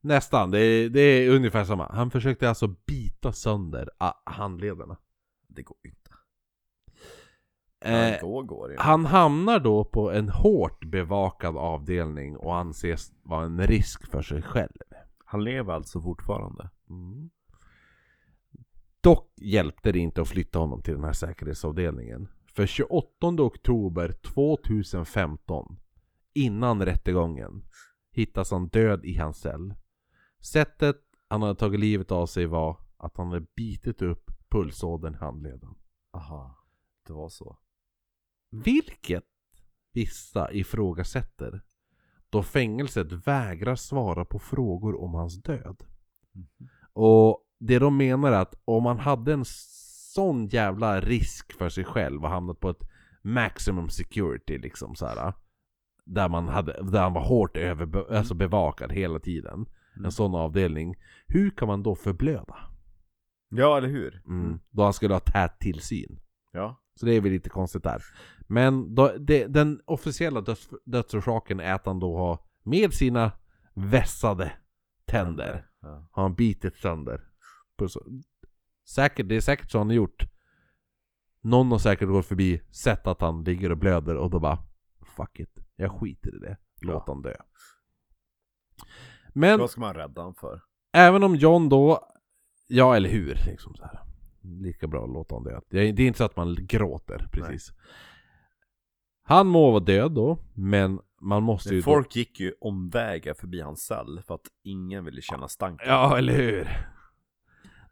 Nästan, det är, det är ungefär samma. Han försökte alltså bita sönder ah, handlederna. Det går inte Eh, Ja, Då går det ju. han hamnar då på en hårt bevakad avdelning och anses vara en risk för sig själv. Han lever alltså fortfarande Dock hjälpte det inte att flytta honom till den här säkerhetsavdelningen. För 28 oktober 2015, innan rättegången, hittas han död i hans cell. Sättet han hade tagit livet av sig var att han hade bitit upp pulsådern i handleden. Aha, det var så Vilket vissa ifrågasätter då fängelset vägrar svara på frågor om hans död. Och det de menar är att om han hade en sån jävla risk för sig själv och hamnat på ett maximum security liksom så här. Där, man hade, där han var hårt överbe- alltså bevakad hela tiden. En sån avdelning. Hur kan man då förblöda? Ja eller hur? Mm. Då han skulle ha tät tillsyn. Ja Så det är väl lite konstigt där. Men då, det, den officiella döds, dödsorsaken är att han då har med sina vässade tänder Ja. har han bitit sönder. Puss. Säkert, det är säkert så han har gjort. Någon har säkert gått förbi, sett att han ligger och blöder och då bara Fuck it, jag skiter i det. Låt han dö. Men Vad ska man rädda honom för? Även om John då, ja eller hur, liksom så här. Lika bra att låta honom dö. Det är det är inte så att man gråter precis. Han må vara död då, men man måste ju... Folk gick ju omvägar förbi hans cell för att ingen ville känna Då... stanken. Ja, eller hur?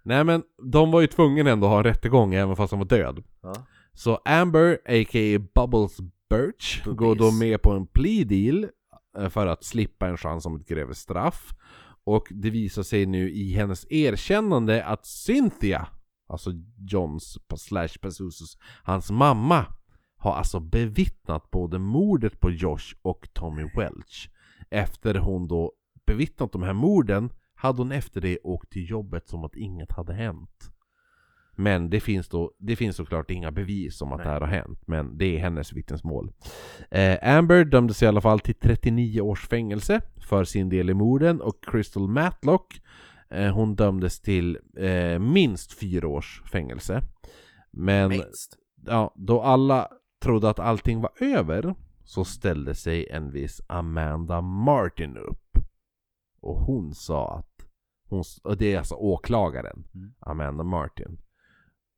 Nej men, de var ju tvungna ändå att ha en rättegång även fast han var död. Ja. Så Amber, a.k.a. Bubbles Birch, Bubbies. går då med på en plea deal eh, för att slippa en chans om ett grövre straff. Och det visar sig nu i hennes erkännande att Cynthia, alltså Johns slash Pazuzus, hans mamma, har alltså bevittnat både mordet på Josh och Tommy Welch. Efter hon då bevittnat de här morden hade hon efter det åkt till jobbet som att inget hade hänt. Men det finns, då, det finns såklart inga bevis om att det här har hänt, men det är hennes vittnesmål. Eh, Amber dömdes i alla fall till 39 års fängelse för sin del i morden och Crystal Matlock eh, hon dömdes till eh, minst fyra års fängelse. Men Minst. ja, då alla trodde att allting var över så ställde sig en viss Amanda Martin upp. Och hon sa att, hon, och det är alltså åklagaren, Mm. Amanda Martin.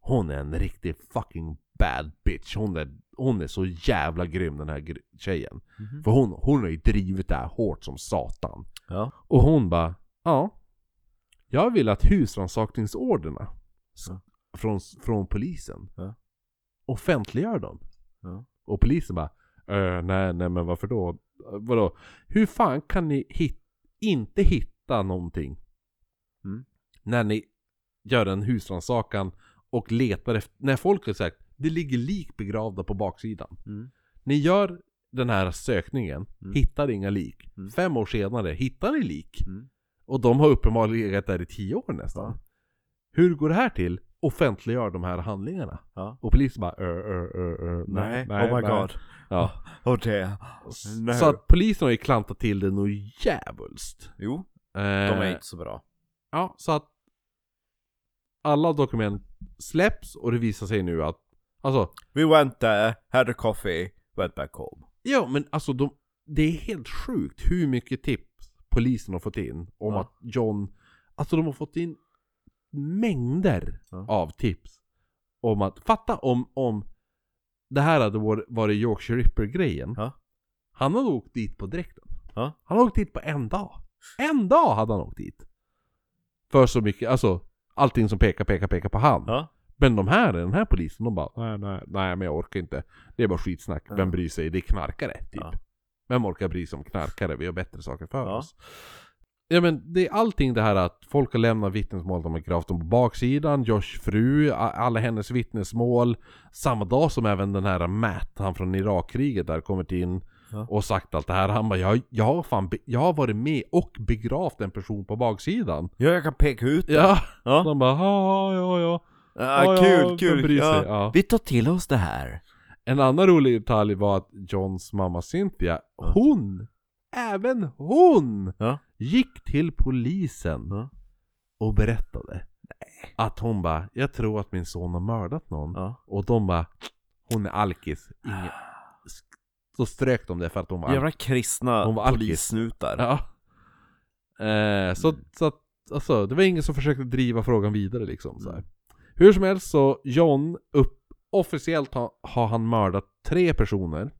Hon är en riktig fucking bad bitch. Hon är, hon är så jävla grym den här gr- tjejen. Mhm. För hon, hon har ju drivit det här hårt som satan. Ja. Och hon bara, ja. Jag vill att husrannsakningsorderna s- Ja. från, från polisen Ja. offentliggör dem. Ja. Och polisen bara, "Eh, nej, nej men varför då? Eh, Vadå? Hur fan kan ni hit, inte hitta någonting? Mm. När ni gör en husrannsakan och letar efter, när folk har sagt det ligger lik begravda på baksidan. Mm. Ni gör den här sökningen, Mm. hittar inga lik. Mm. Fem år senare hittar ni lik. Mm. Och de har uppenbarligen legat där i tio år nästan. Ja. Hur går det här till? Offentliggör de här handlingarna. Ja. Och polisen bara ö, ö, ö, ö, Nej. oh my god. Ja. Och det. Nej. Så att polisen har ju klantat till det nog jävulst. Jo, Eh, de är inte så bra. Ja, så att alla dokument släpps och det visar sig nu att, alltså, We went there, had a coffee, went back home. ja men alltså de, det är helt sjukt hur mycket tips polisen har fått in om Ja. att John, alltså de har fått in mängder Ja. av tips. Om att, fatta om, om det här hade varit- varit Yorkshire Ripper-grejen. Ja. Han hade åkt dit på direkten. Ja. Han hade åkt dit på en dag. En dag hade han åkt dit. För så mycket, alltså allting som pekar, pekar, pekar på han. Ja. Men de här, den här polisen, de bara nej, nej, nej men jag orkar inte. Det är bara skitsnack, vem bryr sig? Det är knarkare, typ. Ja. Vem orkar bry sig om knarkare? Vi har bättre saker för Ja. oss. Ja men det är allting det här att folk har lämnat vittnesmål om Grafton på baksidan, Josh fru, a- alla hennes vittnesmål. Samma dag som även den här Matt, han från Irakkriget där, kommit in Ja. och sagt allt det här. Han bara jag, jag, har fan be- jag har varit med och begravt en person på baksidan. Ja, jag kan peka ut det. Ja! Ja. De bara ja, ja, ja. Ah, Ja, ja, kul, vem kul! bryr sig? Ja. Ja. Vi tar till oss det här. En annan rolig detalj var att Johns mamma Cynthia, hon, även hon, Ja. gick till polisen Ja. och berättade att hon bara, jag tror att min son har mördat någon. Ja. Ah. Och de bara, hon är alkis. Inga... Så strök de det för att hon var alkis. Jävla kristna Hon var alkis. polissnutar. Ja. Eh, så, så att, alltså, det var ingen som försökte driva frågan vidare liksom. Så här. Hur som helst så, John, upp, officiellt ha, har han mördat tre personer.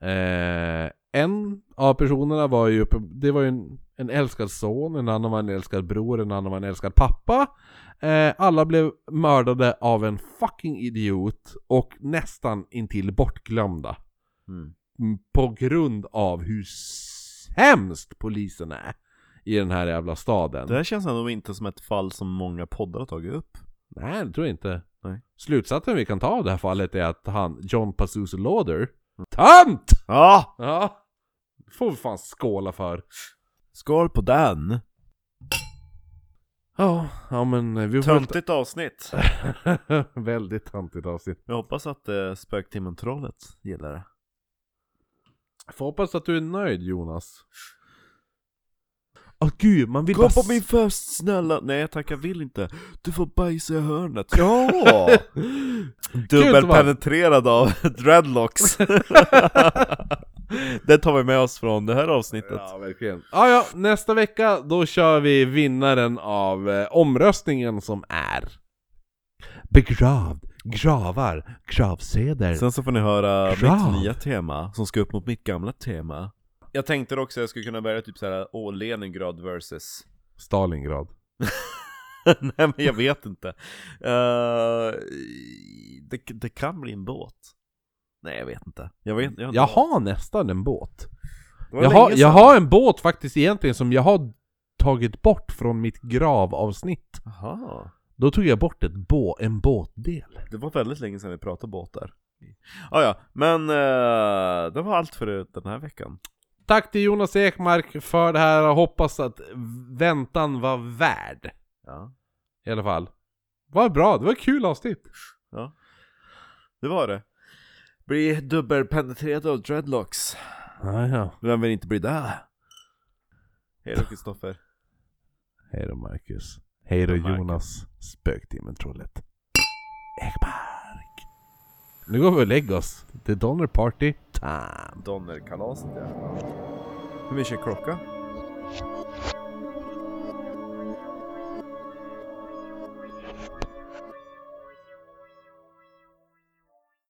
Eh, en av personerna var ju, uppe, det var ju en, en älskad son, en annan var en älskad bror, en annan var en älskad pappa. Eh, alla blev mördade av en fucking idiot och nästan intill bortglömda Mm. m- på grund av hur sämst polisen är i den här jävla staden. Det här känns ändå inte som ett fall som många poddar har tagit upp. Nej, det tror jag inte. Nej. Slutsatsen vi kan ta av det här fallet är att han, John Pazuzu Lauder, TÖNT! Ja! Ja! Får vi fan skåla för. Skål på den! Ja, ja men eh, vi får Töntigt avsnitt. Väldigt töntigt avsnitt. Jag hoppas att eh, Spöktimmen-trollet gillar det. Får hoppas att du är nöjd Jonas. Åh gud, man vill Gå bara... på s- min fest snälla! Nej tack jag vill inte. Du får bajsa i hörnet. Ja! Dubbelpenetrerad av dreadlocks. det tar vi med oss från det här avsnittet. Ja, verkligen. Ah, ja, nästa vecka då kör vi vinnaren av eh, omröstningen som är Begravd, gravar, gravseder. Sen så får ni höra Krav. mitt nya tema som ska upp mot mitt gamla tema. Jag tänkte också att jag skulle kunna välja typ såhär, åh Leningrad versus Stalingrad. Nej men jag vet inte. Eh, det, det kan bli en båt. Nej jag vet inte. Jag, vet, jag, har inte Jag valt. har nästan en båt. Det var Jag har, länge jag sedan. har en båt faktiskt egentligen som jag har tagit bort från mitt gravavsnitt. Jaha. Då tog jag bort ett bå, en båtdel. Det var väldigt länge sedan vi pratade båtar. Ah, ja, men eh, det var allt för den här veckan. Tack till Jonas Ekmark för det här och hoppas att väntan var värd. Ja. I alla fall. Vad bra, det var ett kul avsnitt. Det var det. Bli dubbelpenetrerad av dreadlocks. Ja, ja. Vem vill inte bli det? Hej då Kristoffer. Hej då Marcus. Hej då Hej då, Marcus. Jonas. Spöktimmen-trollet. Ekmark. Nu går vi och lägger oss. Det är Donner Party time. Donnerkalaset ja. Hur mycket är klockan?